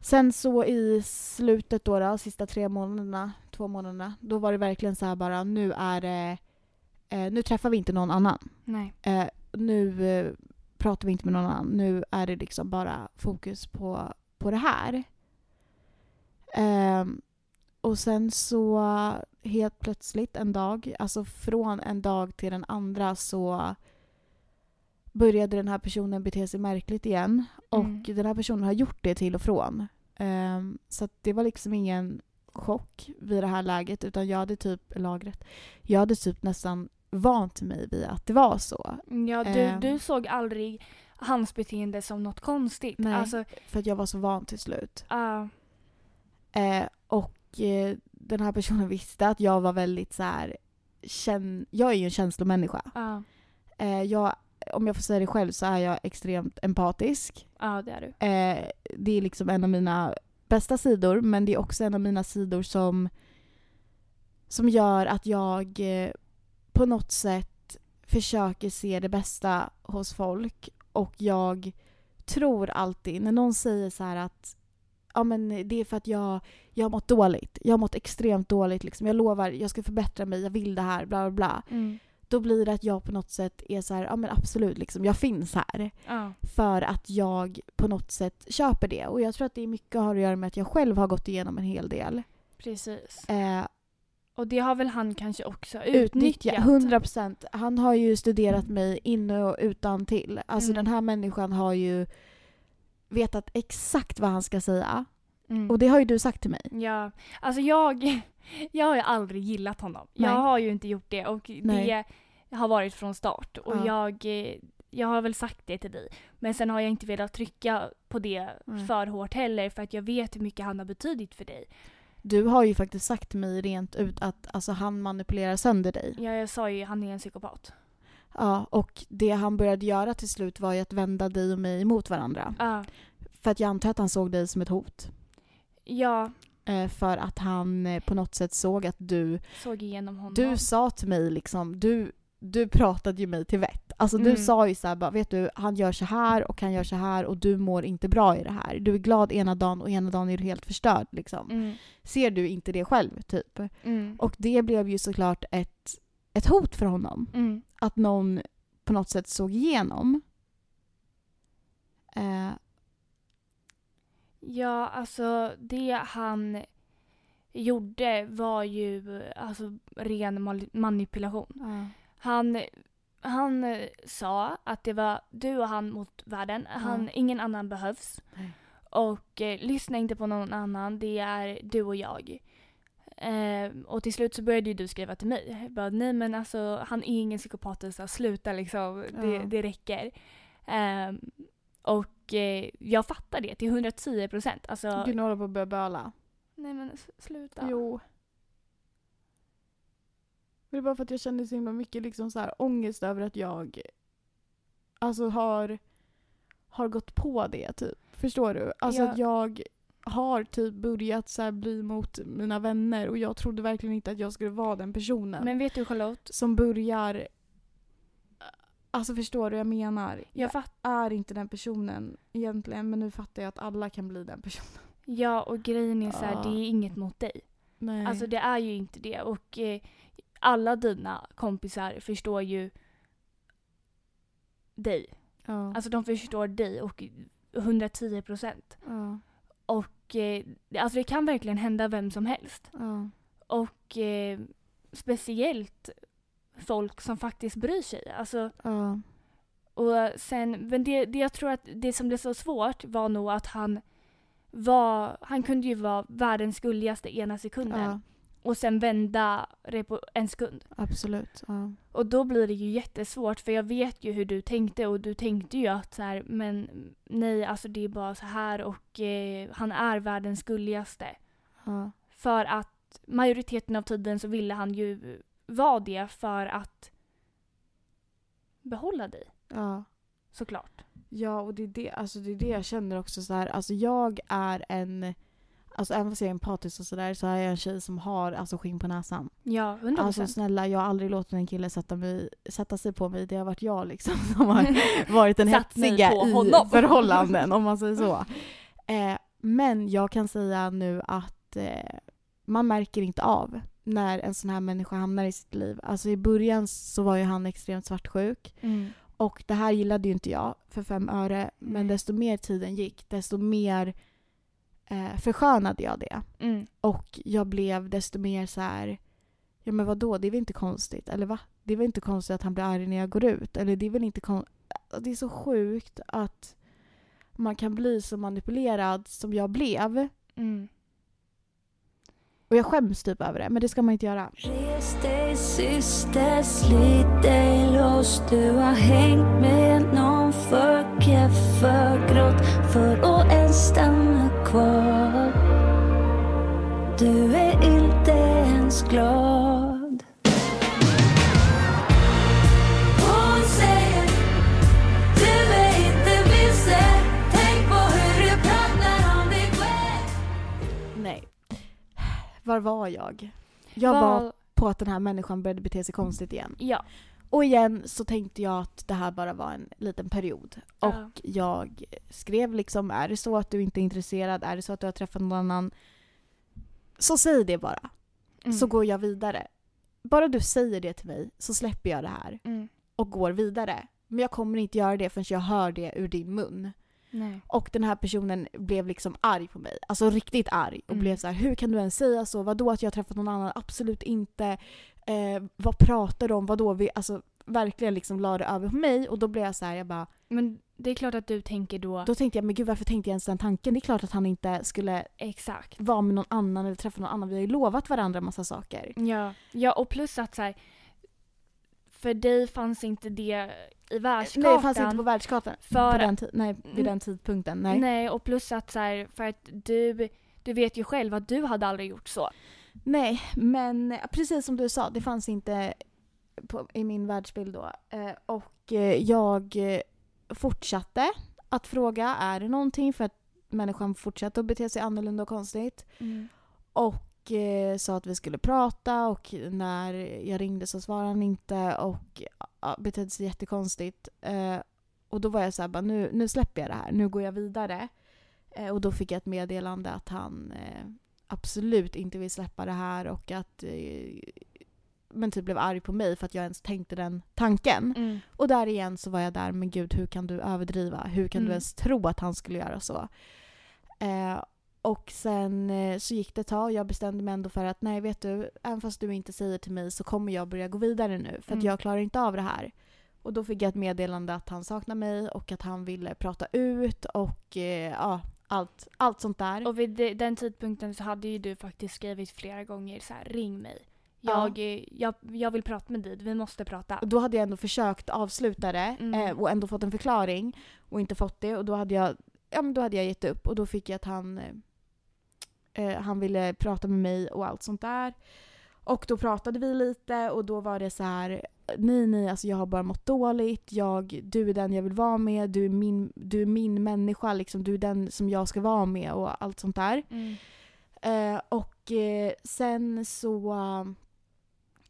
Speaker 4: Sen så i slutet då, då sista tre månaderna, två månaderna, då var det verkligen så här bara nu är det, eh, nu träffar vi inte någon annan.
Speaker 1: Nej.
Speaker 4: Eh, nu eh, pratar vi inte med någon annan. Nu är det liksom bara fokus på, på det här. Ehm, och sen så helt plötsligt en dag, alltså från en dag till den andra så började den här personen bete sig märkligt igen.
Speaker 1: Mm.
Speaker 4: Och den här personen har gjort det till och från. Ehm, så att det var liksom ingen chock vid det här läget utan jag hade typ, lagret, jag hade typ nästan vant mig vid att det var så.
Speaker 1: Ja, du,
Speaker 4: Ehm.
Speaker 1: du såg aldrig hans beteende som något konstigt.
Speaker 4: Nej.
Speaker 1: Alltså,
Speaker 4: För att jag var så van till slut.
Speaker 1: ja,
Speaker 4: Eh, och eh, den här personen visste att jag var väldigt så här, känn, jag är ju en känslomänniska.
Speaker 1: ja,
Speaker 4: Eh, jag, om jag får säga det själv så är jag extremt empatisk.
Speaker 1: ja det är du.
Speaker 4: Eh, det är liksom en av mina bästa sidor men det är också en av mina sidor som, som gör att jag eh, på något sätt försöker se det bästa hos folk och jag tror alltid när någon säger så här att ja men det är för att jag, jag har mått dåligt, jag har mått extremt dåligt liksom, jag lovar jag ska förbättra mig, jag vill det här, bla bla bla.
Speaker 1: Mm.
Speaker 4: Då blir det att jag på något sätt är så här, ja men absolut liksom, jag finns här
Speaker 1: Ja.
Speaker 4: för att jag på något sätt köper det. Och jag tror att det är mycket har att göra med att jag själv har gått igenom en hel del.
Speaker 1: Precis.
Speaker 4: Eh,
Speaker 1: Och det har väl han kanske också
Speaker 4: utnyttja,
Speaker 1: utnyttjat.
Speaker 4: 100%. Han har ju studerat mig in och utan till. Alltså
Speaker 1: Mm.
Speaker 4: den här människan har ju vetat exakt vad han ska säga.
Speaker 1: Mm.
Speaker 4: Och det har ju du sagt till mig.
Speaker 1: Ja, alltså jag, jag har ju aldrig gillat honom.
Speaker 4: Nej.
Speaker 1: Jag har ju inte gjort det och
Speaker 4: Nej.
Speaker 1: det har varit från start. Och
Speaker 4: Ja.
Speaker 1: jag eh, jag har väl sagt det till dig. Men sen har jag inte velat trycka på det
Speaker 4: Nej.
Speaker 1: för hårt heller för att jag vet hur mycket han har betydit för dig.
Speaker 4: Du har ju faktiskt sagt till mig rent ut att alltså, han manipulerar sönder dig.
Speaker 1: Ja, jag sa ju han är en psykopat.
Speaker 4: Ja, och det han började göra till slut var ju att vända dig och mig mot varandra.
Speaker 1: Ja.
Speaker 4: För att jag antar att han såg dig som ett hot.
Speaker 1: jag
Speaker 4: Eh, för att han eh, på något sätt såg att du
Speaker 1: såg igenom honom.
Speaker 4: Du sa till mig liksom, du, du pratade ju mig till vett. Alltså du
Speaker 1: Mm.
Speaker 4: sa ju såhär bara, vet du, han gör så här och han gör så här och du mår inte bra i det här. Du är glad ena dagen och ena dagen är du helt förstörd liksom.
Speaker 1: Mm.
Speaker 4: Ser du inte det själv typ?
Speaker 1: Mm.
Speaker 4: Och det blev ju såklart ett, ett hot för honom.
Speaker 1: Mm.
Speaker 4: Att någon på något sätt såg igenom. Eh,
Speaker 1: Ja, alltså det han gjorde var ju alltså, ren mal- manipulation. Han, han eh, sa att det var du och han mot världen. Han,
Speaker 4: Ja.
Speaker 1: Ingen annan behövs.
Speaker 4: Nej.
Speaker 1: Och eh, lyssna inte på någon annan, det är du och jag. Eh, och till slut så började ju du skriva till mig. Jag bara, nej men alltså han är ingen psykopat så sluta liksom, det,
Speaker 4: Ja.
Speaker 1: det räcker. Eh, och eh, jag fattar det till 110 procent. Alltså,
Speaker 4: Gunilla håller på att börja böla.
Speaker 1: nej men s- sluta.
Speaker 4: Jo. Men det är bara för att jag känner så himla mycket liksom så här ångest över att jag alltså har, har gått på det typ. Förstår du? Alltså
Speaker 1: Ja.
Speaker 4: att jag har typ börjat så här bli mot mina vänner och jag trodde verkligen inte att jag skulle vara den personen
Speaker 1: Men vet du Charlotte,
Speaker 4: som börjar Alltså förstår du vad jag menar?
Speaker 1: jag fattar
Speaker 4: är inte den personen egentligen men nu fattar jag att alla kan bli den personen.
Speaker 1: Ja och grejen är så här,
Speaker 4: Ja.
Speaker 1: det är inget mot dig.
Speaker 4: Nej.
Speaker 1: Alltså det är ju inte det och eh, alla dina kompisar förstår ju dig.
Speaker 4: ja.
Speaker 1: Alltså de förstår dig och 110 procent.
Speaker 4: ja.
Speaker 1: Och eh, alltså det kan verkligen hända vem som helst.
Speaker 4: ja.
Speaker 1: Och eh, speciellt folk som faktiskt bryr sig. Alltså,
Speaker 4: ja.
Speaker 1: och sen, men det, det jag tror att det som blev så svårt var nog att han var, han kunde ju vara världens gulligaste ena sekunden
Speaker 4: Ja,
Speaker 1: och sen vända det på en sekund.
Speaker 4: absolut. Ja.
Speaker 1: Och då blir det ju jättesvårt för jag vet ju hur du tänkte och du tänkte ju att så här, men nej alltså det är bara så här och eh, han är världens gulligaste.
Speaker 4: Ja.
Speaker 1: För att majoriteten av tiden så ville han ju vara det för att behålla dig
Speaker 4: Ja.
Speaker 1: såklart.
Speaker 4: ja, och det är det, alltså det är det jag känner också så här. Alltså jag är en, alltså även fast jag är empatisk och sådär så är jag en tjej som har alltså skinn på näsan.
Speaker 1: Ja, 100%.
Speaker 4: Alltså snälla, jag har aldrig låtit en kille sätta, mig, sätta sig på mig. Det har varit jag liksom som har varit den
Speaker 1: Satt mig
Speaker 4: hetsiga
Speaker 1: på
Speaker 4: i
Speaker 1: honom.
Speaker 4: förhållanden om man säger så. Eh, men jag kan säga nu att eh, man märker inte av när en sån här människa hamnar i sitt liv. Alltså i början så var ju han extremt svartsjuk.
Speaker 1: mm.
Speaker 4: Och det här gillade ju inte jag för fem öre. Men
Speaker 1: Nej.
Speaker 4: desto mer tiden gick, desto mer eh, förskönade jag det.
Speaker 1: Mm.
Speaker 4: Och jag blev desto mer så här... Ja men vadå, det är väl inte konstigt? Eller va? Det är väl inte konstigt att han blir arg när jag går ut? Eller det är väl inte kon- Alltså, Det är så sjukt att man kan bli så manipulerad som jag blev.
Speaker 1: Mm.
Speaker 4: Och jag skäms typ över det, men det ska man inte göra.
Speaker 6: Res dig syster, slit dig loss Du har hängt med någon för keff, för grått För att ens stanna kvar Du är inte ens glad Hon säger Du är inte vilsen Tänk på hur du pratar om dig själv
Speaker 4: Nej. Var var jag? Jag var
Speaker 1: Val-
Speaker 4: på att den här människan började bete sig konstigt igen.
Speaker 1: Ja.
Speaker 4: Och igen så tänkte jag att det här bara var en liten period. Och
Speaker 1: Ja.
Speaker 4: jag skrev liksom, är det så att du inte är intresserad, är det så att du har träffat någon annan, så säg det bara.
Speaker 1: Mm.
Speaker 4: Så går jag vidare. Bara du säger det till mig så släpper jag det här
Speaker 1: Mm.
Speaker 4: och går vidare. Men jag kommer inte göra det förrän jag hör det ur din mun.
Speaker 1: Nej.
Speaker 4: Och den här personen blev liksom arg på mig. Alltså riktigt arg. Och
Speaker 1: Mm.
Speaker 4: blev så här: hur kan du ens säga så? Vadå att jag har träffat någon annan? Absolut inte. Eh, vad pratar du om? Vadå? Vi, alltså verkligen liksom la det över på mig. Och då blev jag så här, jag bara,
Speaker 1: Men det är klart att du tänker då,
Speaker 4: då tänkte jag, men gud varför tänkte jag ens den tanken? Det är klart att han inte skulle
Speaker 1: exakt.
Speaker 4: vara med någon annan eller träffa någon annan. Vi har ju lovat varandra massa
Speaker 1: Mm.
Speaker 4: saker.
Speaker 1: Ja, ja och plus att så här, för dig fanns inte det i världskartan. Mm.
Speaker 4: Nej, det fanns inte på världskartan.
Speaker 1: För-
Speaker 4: på den ti- nej, vid den tidpunkten. Nej.
Speaker 1: Nej. och plus att så här, för att du, du vet ju själv att du hade aldrig gjort så.
Speaker 4: Nej, men eh, precis som du sa, det fanns inte på, i min världsbild då. Eh, och eh, jag eh, fortsatte att fråga, är det någonting? För att människan fortsatte att bete sig annorlunda och konstigt. Och eh, sa att vi skulle prata och när jag ringde så svarade han inte och ja, betedde sig jättekonstigt. Eh, och då var jag så här, bara, nu, nu släpper jag det här, nu går jag vidare. Eh, och då fick jag ett meddelande att han eh, absolut inte vill släppa det här och att eh, men typ blev arg på mig för att jag ens tänkte den tanken. Och där igen så var jag där, men gud hur kan du överdriva? Hur kan
Speaker 1: Mm.
Speaker 4: du ens tro att han skulle göra så? Eh, och sen eh, så gick det ett tag och jag bestämde mig ändå för att nej vet du, även fast du inte säger till mig så kommer jag börja gå vidare nu för att
Speaker 1: Mm.
Speaker 4: jag klarar inte av det här. Och då fick jag ett meddelande att han saknar mig och att han ville prata ut och eh, ja, allt, allt sånt där.
Speaker 1: Mm. Och vid de- den tidpunkten så hade ju du faktiskt skrivit flera gånger så här, ring mig.
Speaker 4: Ja.
Speaker 1: Jag, eh, jag, jag vill prata med dig, vi måste prata.
Speaker 4: Och då hade jag ändå försökt avsluta det
Speaker 1: Mm.
Speaker 4: eh, och ändå fått en förklaring och inte fått det och då hade jag, ja, men då hade jag gett upp och då fick jag att han, eh, eh, han ville prata med mig och allt sånt där. Och då pratade vi lite och då var det så här nej nej alltså jag har bara mått dåligt, jag, du är den jag vill vara med, du är min, du är min människa liksom, du är den som jag ska vara med och allt sånt där.
Speaker 1: Mm.
Speaker 4: Eh, och eh, sen så eh,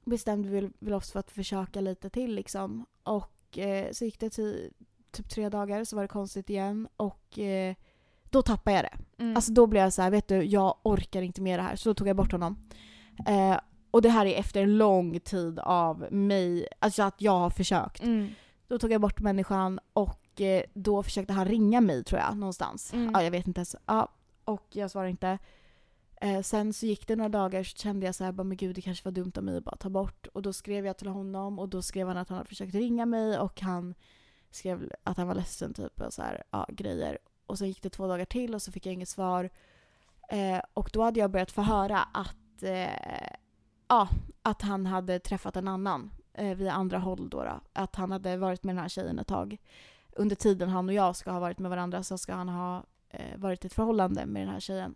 Speaker 4: bestämde vi väl- väl oss för att försöka lite till liksom. Och eh, så gick det ti- typ tre dagar så var det konstigt igen och eh, då tappade jag det.
Speaker 1: Mm.
Speaker 4: Alltså då blev jag så här, vet du, jag orkar inte med det här. Så då tog jag bort honom. Eh, och det här är efter en lång tid av mig, alltså att jag har försökt.
Speaker 1: mm.
Speaker 4: Då tog jag bort människan och eh, då försökte han ringa mig tror jag, någonstans.
Speaker 1: Mm.
Speaker 4: Ja, jag vet inte ens. Ja, och jag svarade inte. Eh, sen så gick det några dagar så kände jag så här, bara, men gud det kanske var dumt av mig att bara ta bort. Och då skrev jag till honom och då skrev han att han hade försökt ringa mig och han skrev att han var ledsen typ och så här, ja, grejer. Och sen gick det två dagar till och så fick jag inget svar. Eh, och då hade jag börjat få höra att, eh, ja, att han hade träffat en annan eh, via andra håll då, då. Att han hade varit med den här tjejen ett tag. Under tiden han och jag ska ha varit med varandra så ska han ha eh, varit i ett förhållande med den här tjejen.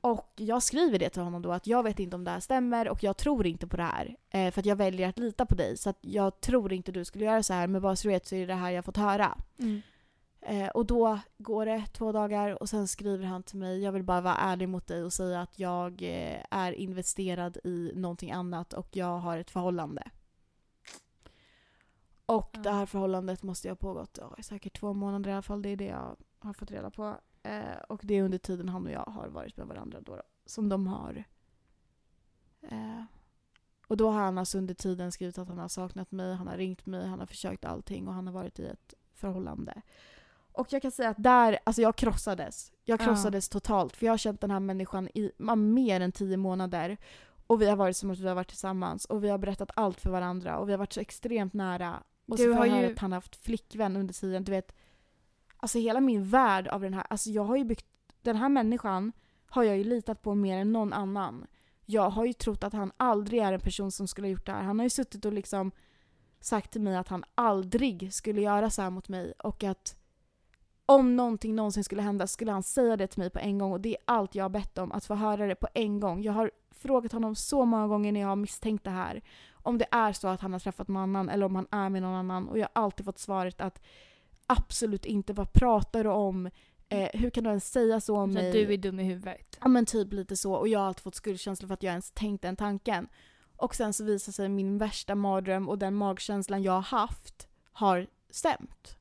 Speaker 4: Och jag skriver det till honom då att jag vet inte om det här stämmer och jag tror inte på det här. Eh, för att jag väljer att lita på dig så att jag tror inte du skulle göra så här men vad så du vet så är det det här jag fått höra.
Speaker 1: Mm.
Speaker 4: Eh, och då går det två dagar och sen skriver han till mig, jag vill bara vara ärlig mot dig och säga att jag eh, är investerad i någonting annat och jag har ett förhållande. Och
Speaker 1: Ja.
Speaker 4: det här förhållandet måste jag ha pågått ja, i säkert två månader i alla fall, det är det jag har fått reda på. Eh, och det är under tiden han och jag har varit med varandra då, då som de har. Eh, och då har han alltså under tiden skrivit att han har saknat mig, han har ringt mig, han har försökt allting och han har varit i ett förhållande. Och jag kan säga att där, alltså jag krossades. Jag
Speaker 1: Ja.
Speaker 4: krossades totalt för jag har känt den här människan i ja, mer än tio månader. Och vi har varit som att vi har varit tillsammans och vi har berättat allt för varandra och vi har varit så extremt nära. Och
Speaker 1: Du
Speaker 4: så får
Speaker 1: har
Speaker 4: jag höra
Speaker 1: ju-
Speaker 4: att han har haft flickvän under tiden. Du vet, alltså hela min värld av den här, alltså jag har ju byggt, den här människan har jag ju litat på mer än någon annan. Jag har ju trott att han aldrig är en person som skulle ha gjort det här. Han har ju suttit och liksom sagt till mig att han aldrig skulle göra så här mot mig och att om någonting någonsin skulle hända skulle han säga det till mig på en gång och det är allt jag har bett om, att få höra det på en gång. Jag har frågat honom så många gånger när jag har misstänkt det här. Om det är så att han har träffat någon annan eller om han är med någon annan och jag har alltid fått svaret att absolut inte, vad pratar du om? Eh, hur kan du ens säga så om
Speaker 1: Så
Speaker 4: mig?
Speaker 1: att du är dum i huvudet.
Speaker 4: Ja men typ lite så och jag har alltid fått skuldkänslor för att jag ens tänkt den tanken. Och sen så visar sig min värsta mardröm och den magkänslan jag har haft har stämt.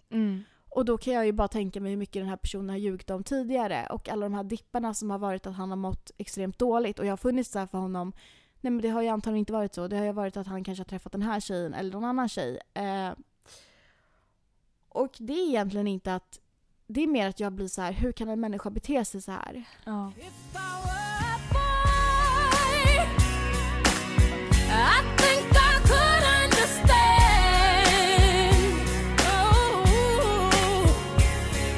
Speaker 4: Och då kan jag ju bara tänka mig hur mycket den här personen har ljugit om tidigare och alla de här dipparna som har varit att han har mått extremt dåligt och jag har funnits där för honom. Nej men det har ju antagligen inte varit så. Det har ju varit att han kanske har träffat den här tjejen eller någon annan tjej. Eh, och det är egentligen inte att, det är mer att jag blir så här: hur kan en människa bete sig så här?
Speaker 1: Ja.
Speaker 6: If I were a boy, I think I could understand. Oh,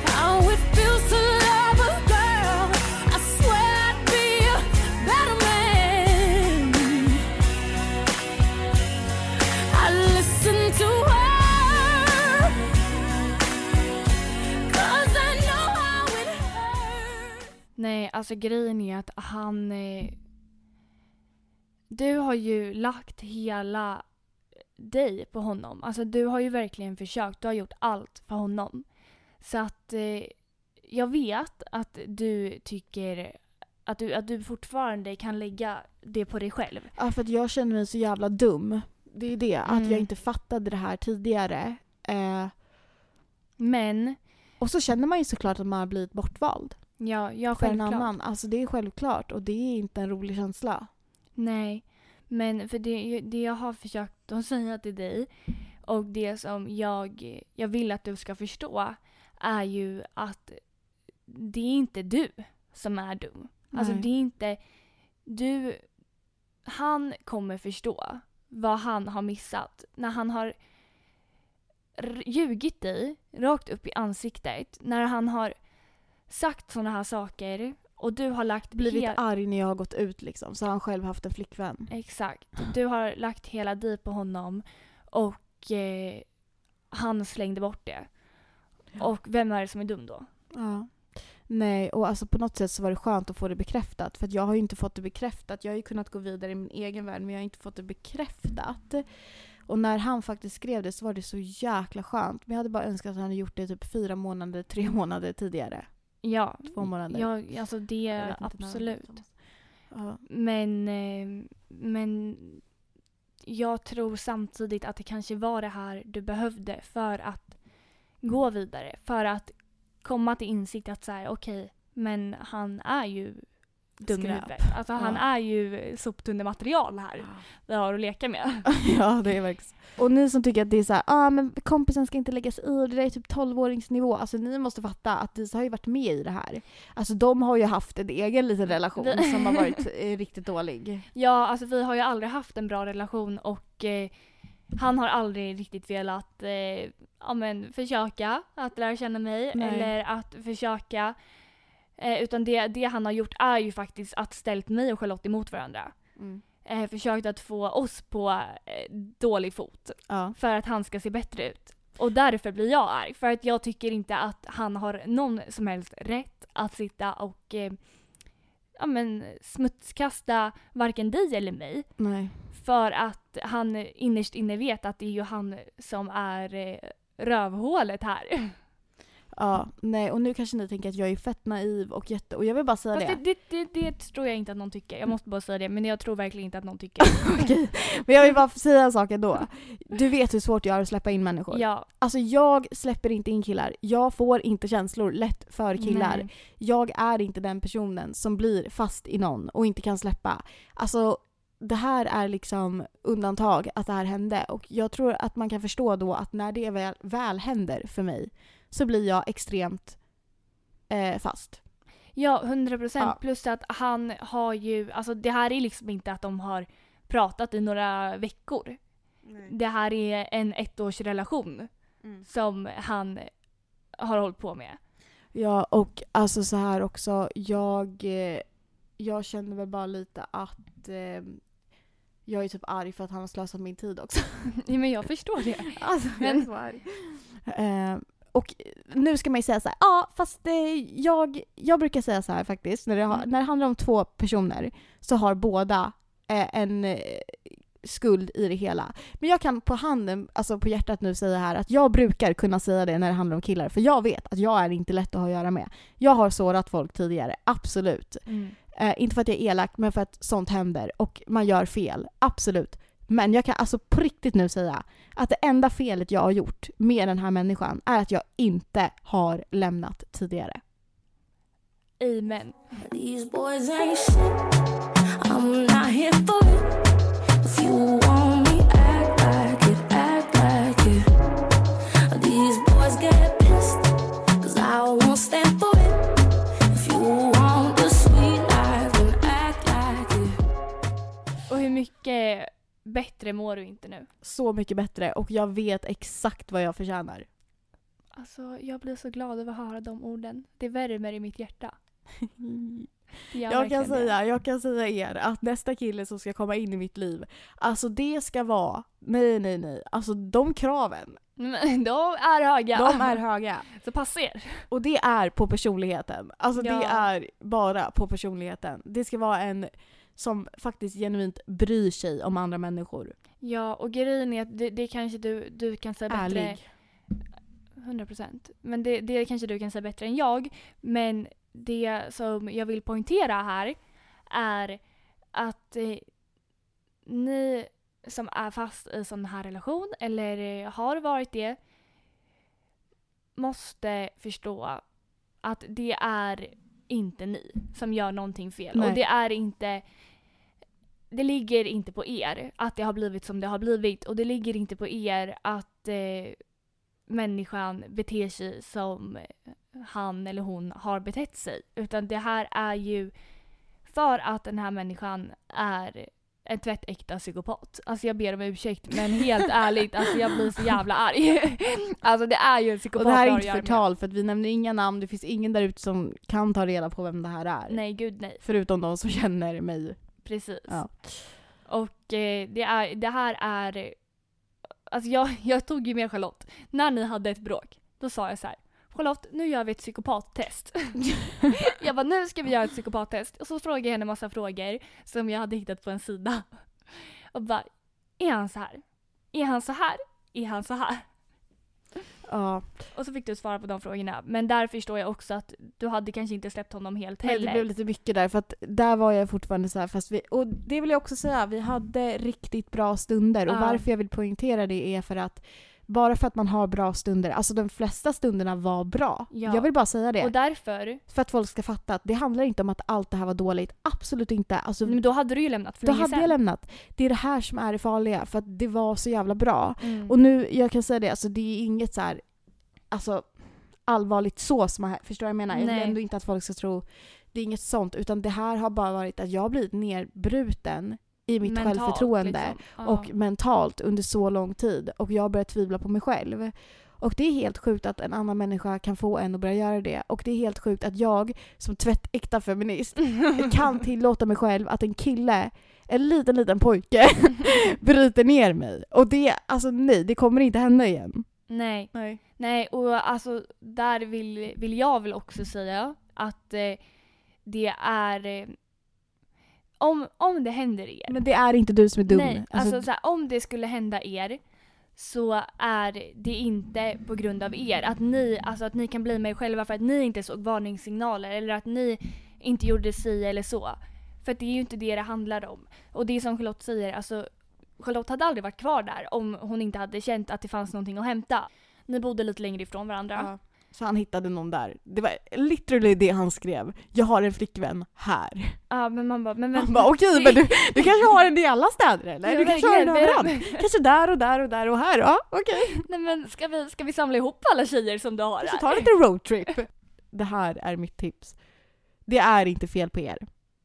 Speaker 6: how it feels to love a girl. I swear I'd be a better man. I listen to her.
Speaker 1: Nej, alltså grejen är att han... Eh, du har ju lagt hela dig på honom. Alltså du har ju verkligen försökt. Du har gjort allt för honom. Så att eh, jag vet att du tycker att du, att du fortfarande kan lägga det på dig själv.
Speaker 4: Ja, för att jag känner mig så jävla dum. Det är det, att
Speaker 1: Mm.
Speaker 4: jag inte fattade det här tidigare. Eh,
Speaker 1: Men,
Speaker 4: och så känner man ju såklart att man har blivit bortvald
Speaker 1: ja, jag
Speaker 4: för en
Speaker 1: självklart.
Speaker 4: annan. Alltså det är självklart och det är inte en rolig känsla.
Speaker 1: Nej, men för det, det jag har försökt att säga till dig och det som jag, jag vill att du ska förstå är ju att det är inte du som är dum. Alltså
Speaker 4: Nej.
Speaker 1: det är inte... Du... Han kommer förstå vad han har missat när han har r- ljugit dig rakt upp i ansiktet. När han har sagt sådana här saker och du har lagt
Speaker 4: Blivit
Speaker 1: hel-
Speaker 4: arg när jag har gått ut liksom, så har han själv haft en flickvän.
Speaker 1: Exakt. Du har lagt hela dig på honom och eh, han slängde bort det. Och vem är det som är dum då?
Speaker 4: Ja. Nej, och alltså på något sätt så var det skönt att få det bekräftat. För att jag har ju inte fått det bekräftat. Jag har ju kunnat gå vidare i min egen värld men jag har inte fått det bekräftat. Och när han faktiskt skrev det så var det så jäkla skönt. Men jag hade bara önskat att han hade gjort det typ fyra månader, tre månader tidigare.
Speaker 1: Ja,
Speaker 4: Två månader.
Speaker 1: ja alltså
Speaker 4: Jag
Speaker 1: det
Speaker 4: vet inte när han skrev,
Speaker 1: absolut.
Speaker 4: Thomas. Ja.
Speaker 1: Men, eh, men jag tror samtidigt att det kanske var det här du behövde för att gå vidare. För att komma till insikt att så här, okej, men han är ju dum i
Speaker 4: Skräp.
Speaker 1: huvudet. Alltså han
Speaker 4: Ja.
Speaker 1: är ju soptunnematerial här vi har att leka med.
Speaker 4: ja, det är verkligen Och ni som tycker att det är så här, ah, men kompisen ska inte lägga sig i, det där är typ 12-åringsnivå. Alltså ni måste fatta att Disa har ju varit med i det här. Alltså de har ju haft en egen liten relation
Speaker 1: Vi-
Speaker 4: som har varit eh, riktigt dålig.
Speaker 1: Ja, alltså vi har ju aldrig haft en bra relation och eh, han har aldrig riktigt velat eh, ja, men, försöka att lära känna mig
Speaker 4: Nej.
Speaker 1: eller att försöka. Eh, utan det, det han har gjort är ju faktiskt att ställt mig och Charlotte emot varandra.
Speaker 4: Mm.
Speaker 1: Eh, försökt att få oss på eh, dålig fot
Speaker 4: Ja.
Speaker 1: för att han ska se bättre ut. Och därför blir jag arg. För att jag tycker inte att han har någon som helst rätt att sitta och eh, ja, men, smutskasta varken dig eller mig.
Speaker 4: Nej.
Speaker 1: För att han innerst inne vet att det är ju han som är eh, rövhålet här.
Speaker 4: Ja, nej och nu kanske ni tänker att jag är fett naiv och jätte... Och jag vill bara säga
Speaker 1: Fast det,
Speaker 4: det. Mm.
Speaker 1: det, det, det tror jag inte att någon tycker. Jag måste bara säga det, men jag tror verkligen inte att någon tycker.
Speaker 4: Okej. Men jag vill bara säga en sak ändå. Du vet hur svårt jag har att släppa in människor.
Speaker 1: ja,
Speaker 4: Alltså jag släpper inte in killar. Jag får inte känslor lätt för killar.
Speaker 1: nej.
Speaker 4: Jag är inte den personen som blir fast i någon och inte kan släppa. Alltså det här är liksom undantag att det här hände och jag tror att man kan förstå då att när det väl, väl händer för mig så blir jag extremt eh, fast.
Speaker 1: Ja, 100 procent.
Speaker 4: Ja.
Speaker 1: Plus att han har ju, alltså det här är liksom inte att de har pratat i några veckor. Det här är en ettårsrelation som han har hållit på med.
Speaker 4: Ja, och alltså så här också. Jag, eh, jag känner väl bara lite att eh, jag är typ arg för att han har slösat min tid också.
Speaker 1: Ja, men jag förstår det.
Speaker 4: Alltså,
Speaker 1: jag är
Speaker 4: så arg. och nu ska man ju säga så här, ja fast eh, jag, jag brukar säga så här faktiskt, när det, har,
Speaker 1: Mm.
Speaker 4: när det handlar om två personer så har båda eh, en eh, skuld i det hela. Men jag kan på handen, alltså på hjärtat nu säga här att jag brukar kunna säga det när det handlar om killar, för jag vet att jag är inte lätt att ha att göra med. Jag har sårat folk tidigare, absolut.
Speaker 1: Mm.
Speaker 4: Eh, inte för att jag är elak, men för att sånt händer och man gör fel. Absolut. Men jag kan alltså på riktigt nu säga att det enda felet jag har gjort med den här människan är att jag inte har lämnat tidigare.
Speaker 1: Amen.
Speaker 6: These boys ain't shit. I'm not here for it. If you want me, act like it, act like it. These boys get pissed, cause I won't stand for it. If you want the sweet life, then act like it.
Speaker 1: Och hur mycket bättre mår du inte nu?
Speaker 4: Så mycket bättre och jag vet exakt vad jag förtjänar.
Speaker 1: Alltså, jag blir så glad över att höra de orden. Det värmer i mitt hjärta. Det gör
Speaker 4: Jag kan,
Speaker 1: verkligen det.
Speaker 4: säga, jag kan säga er att nästa kille som ska komma in i mitt liv, alltså det ska vara, nej nej nej, alltså de kraven.
Speaker 1: Men de är höga.
Speaker 4: De är höga.
Speaker 1: Så passa er.
Speaker 4: Och det är på personligheten. Alltså det
Speaker 1: Ja.
Speaker 4: är bara på personligheten. Det ska vara en som faktiskt genuint bryr sig om andra människor.
Speaker 1: Ja, och grejen är att det, det kanske du, du kan säga bättre.
Speaker 4: Ärlig.
Speaker 1: 100%. Men det, det kanske du kan säga bättre än jag. Men det som jag vill poängtera här är att eh, ni som är fast i sån här relation eller eh, har varit det måste förstå att det är inte ni som gör någonting fel.
Speaker 4: Nej.
Speaker 1: Och det är inte det ligger inte på er att det har blivit som det har blivit och det ligger inte på er att eh, människan beter sig som han eller hon har betett sig. Utan det här är ju för att den här människan är en tvättäkta psykopat. Alltså jag ber om ursäkt men helt ärligt, alltså jag blir så jävla arg. Alltså det är ju en psykopat
Speaker 4: Och det här
Speaker 1: vi
Speaker 4: är
Speaker 1: har
Speaker 4: inte
Speaker 1: att göra med.
Speaker 4: förtal för att vi nämner inga namn. Det finns ingen där ute som kan ta reda på vem det här är.
Speaker 1: Nej gud nej,
Speaker 4: Förutom de som känner mig.
Speaker 1: precis.
Speaker 4: Ja.
Speaker 1: Och eh, det, är, det här är... Alltså jag, jag tog ju med Charlotte. När ni hade ett bråk, då sa jag så här. Charlotte, nu gör vi ett psykopattest. jag bara, nu ska vi göra ett psykopattest. Och så frågade jag henne massa frågor som jag hade hittat på en sida. Och bara, är han så här? Är han så här? Är han så här?
Speaker 4: Ja.
Speaker 1: Och så fick du svara på de frågorna. Men där förstår jag också att du hade kanske inte släppt honom helt
Speaker 4: Nej,
Speaker 1: heller.
Speaker 4: det blev lite mycket där för att där var jag fortfarande så här fast vi, och det vill jag också säga, vi hade riktigt bra stunder och
Speaker 1: Ja.
Speaker 4: varför jag vill poängtera det är för att bara för att man har bra stunder, alltså de flesta stunderna var bra.
Speaker 1: Ja.
Speaker 4: Jag vill bara säga det.
Speaker 1: Och därför,
Speaker 4: för att folk ska fatta att det handlar inte om att allt det här var dåligt, absolut inte. Alltså,
Speaker 1: men då hade du ju lämnat för
Speaker 4: då
Speaker 1: länge
Speaker 4: hade
Speaker 1: sedan.
Speaker 4: jag lämnat. Det är det här som är det farliga för att det var så jävla bra.
Speaker 1: Mm.
Speaker 4: Och nu, jag kan säga det, alltså det är inget så här, alltså allvarligt så som jag, förstår vad jag menar? Jag
Speaker 1: Nej.
Speaker 4: vill ändå inte att folk ska tro, det är inget sånt utan det här har bara varit att jag har blivit nerbruten i mitt
Speaker 1: Mentalt,
Speaker 4: självförtroende
Speaker 1: liksom. Ja.
Speaker 4: och mentalt under så lång tid och jag har börjat tvivla på mig själv. Och det är helt sjukt att en annan människa kan få en att börja göra det. Och det är helt sjukt att jag som tvättäkta feminist kan tillåta mig själv att en kille, en liten liten pojke, bryter ner mig. Och det, alltså nej, det kommer inte hända igen.
Speaker 1: Nej.
Speaker 4: Nej.
Speaker 1: Nej, och alltså där vill, vill jag väl också säga att eh, det är... Eh, om, om det händer er.
Speaker 4: Men det är inte du som är dum.
Speaker 1: Nej, alltså,
Speaker 4: Alltså,
Speaker 1: så här, om det skulle hända er så är det inte på grund av er. Att ni, alltså, att ni kan bli med er själva för att ni inte såg varningssignaler eller att ni inte gjorde si eller så. För att det är ju inte det det handlar om. Och det är som Charlotte säger, alltså Charlotte hade aldrig varit kvar där om hon inte hade känt att det fanns någonting att hämta. Ni bodde lite längre ifrån varandra.
Speaker 4: ja. Så han hittade någon där. Det var literally det han skrev. Jag har en flickvän här.
Speaker 1: Ja men man bara, men
Speaker 4: Han
Speaker 1: vänta.
Speaker 4: bara okej men du, du kanske har en i alla städer eller?
Speaker 1: Ja,
Speaker 4: du kanske har en
Speaker 1: verkligen.
Speaker 4: överallt? Kanske där och där och där och här? Ja okej.
Speaker 1: Nej men ska vi, ska vi samla ihop alla tjejer som du har
Speaker 4: Vi får
Speaker 1: här?
Speaker 4: ta lite roadtrip. Det här är mitt tips. Det är inte fel på er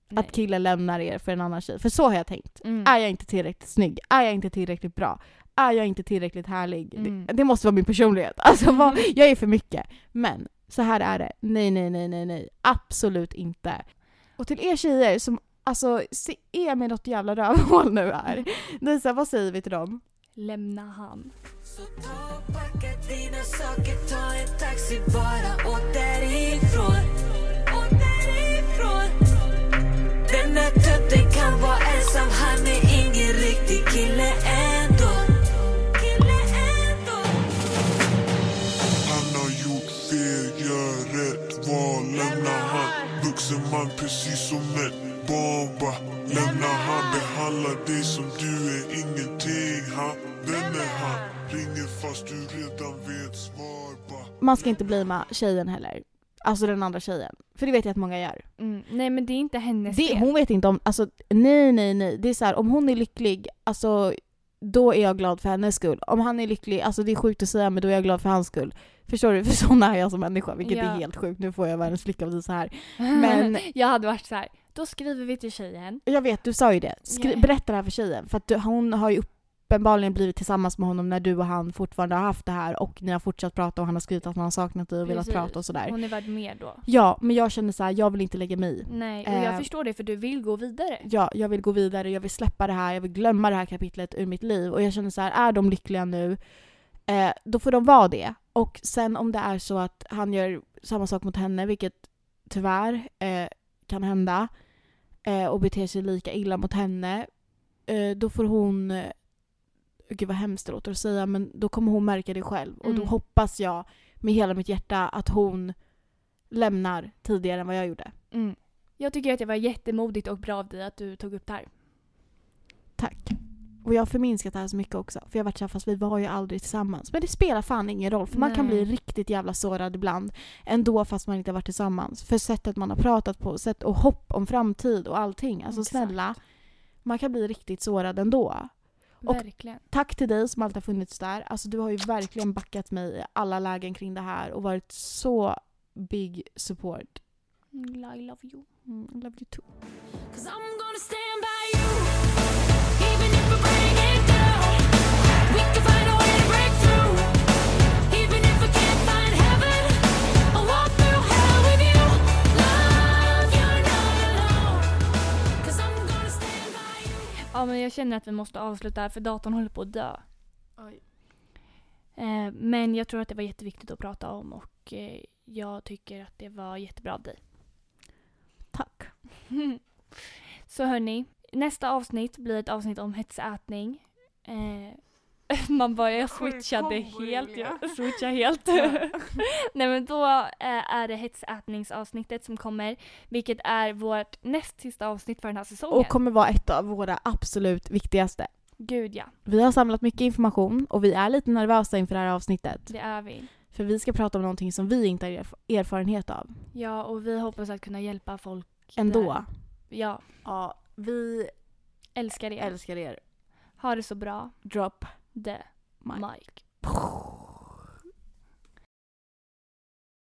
Speaker 1: Nej.
Speaker 4: att killen lämnar er för en annan tjej. För så har jag tänkt.
Speaker 1: Mm.
Speaker 4: Är jag inte tillräckligt snygg? Är jag inte tillräckligt bra? Är jag inte tillräckligt härlig?
Speaker 1: Mm.
Speaker 4: Det, det måste vara min personlighet. Alltså vad, jag är för mycket. Men så här är det. Nej, nej, nej, nej, nej. Absolut inte. Och till er tjejer som alltså se- är med något jävla rövhål nu
Speaker 1: Mm.
Speaker 4: här. Ni, så här, vad säger vi till dem?
Speaker 1: Lämna han.
Speaker 7: Så ta och packa dina saker, ta en taxi, bara åk därifrån. Åk därifrån. Den där tötten kan vara ensam, han är ingen riktig kille ändå. Kille ändå.
Speaker 8: Han har gjort fel, gör rätt val Lämna han, vuxen man precis som ett barn va Lämna han, behandlar dig som du är ingenting ha Vem är han? Ringer fast du redan vet svar va
Speaker 4: Man ska inte blima tjejen heller. Alltså den andra tjejen. För det vet jag att många gör.
Speaker 1: Mm. Nej men det är inte hennes
Speaker 4: Det,
Speaker 1: fel.
Speaker 4: hon vet inte om, alltså nej nej nej. Det är så här, om hon är lycklig, alltså då är jag glad för hennes skull. Om han är lycklig, alltså det är sjukt att säga men då är jag glad för hans skull. Förstår du? För sån är jag som människa, vilket
Speaker 1: Ja.
Speaker 4: är helt sjukt. Nu får jag världens flicka av dig så här. Men
Speaker 1: jag hade varit så här. då skriver vi till tjejen.
Speaker 4: jag vet, du sa ju det. Skri-
Speaker 1: Ja.
Speaker 4: Berätta det här för tjejen. För att du, hon har ju uppenbarligen blivit tillsammans med honom när du och han fortfarande har haft det här och ni har fortsatt prata och han har skrivit att han har saknat dig och velat
Speaker 1: Precis.
Speaker 4: prata och sådär.
Speaker 1: Hon är värd mer då.
Speaker 4: Ja, men jag känner så här, jag vill inte lägga mig i.
Speaker 1: Nej, och jag
Speaker 4: Eh.
Speaker 1: förstår det för du vill gå vidare.
Speaker 4: Ja, jag vill gå vidare, jag vill släppa det här, jag vill glömma det här kapitlet ur mitt liv. Och jag känner så här, är de lyckliga nu? Eh, då får de vara det. Och sen om det är så att han gör samma sak mot henne, vilket tyvärr eh, kan hända, eh, och beter sig lika illa mot henne, eh, då får hon... eh, Gud vad hemskt det låter att säga, men då kommer hon märka det själv. Och då
Speaker 1: Mm.
Speaker 4: hoppas jag med hela mitt hjärta att hon lämnar tidigare än vad jag gjorde.
Speaker 1: Mm. Jag tycker att det var jättemodigt och bra av dig att du tog upp det här.
Speaker 4: Tack. Och jag har förminskat det här så mycket också. För jag har varit såhär, fast vi var ju aldrig tillsammans. Men det spelar fan ingen roll för man kan
Speaker 1: Nej.
Speaker 4: bli riktigt jävla sårad ibland. Ändå fast man inte har varit tillsammans. För sättet man har pratat på sätt och hopp om framtid och allting. Alltså
Speaker 1: Exakt.
Speaker 4: snälla. Man kan bli riktigt sårad ändå. Och-
Speaker 1: Verkligen.
Speaker 4: Tack till dig som alltid har funnits där. Alltså du har ju verkligen backat mig i alla lägen kring det här och varit så big support.
Speaker 1: Mm, I love you.
Speaker 4: Mm, I love you too.
Speaker 6: Cause I'm gonna stand by you, even if we're breaking down. We can find a way to break through, even if we can't find heaven. I'll walk through hell with you. Love, you're not alone. Cause I'm gonna stand by you.
Speaker 1: Ja men jag känner att vi måste avsluta här för datorn håller på att dö. Eh, men jag tror att det var jätteviktigt att prata om och eh, jag tycker att det var jättebra av dig.
Speaker 4: Tack.
Speaker 1: Så hörni, nästa avsnitt blir ett avsnitt om hetsätning. Eh, man bara jag switchade helt. Jag switchade helt. Nej men då eh, är det hetsätningsavsnittet som kommer. Vilket är vårt näst sista avsnitt för den här säsongen.
Speaker 4: Och kommer vara ett av våra absolut viktigaste.
Speaker 1: Gud ja,
Speaker 4: Vi har samlat mycket information och vi är lite nervösa inför det här avsnittet.
Speaker 1: det är vi.
Speaker 4: För vi ska prata om någonting som vi inte har erf- erfarenhet av.
Speaker 1: Ja och vi hoppas att kunna hjälpa folk. där.
Speaker 4: Ändå.
Speaker 1: Ja,
Speaker 4: Ja, vi
Speaker 1: älskar er.
Speaker 4: älskar er.
Speaker 1: Ha det så bra.
Speaker 4: Drop
Speaker 1: The
Speaker 4: mic.
Speaker 1: Mike.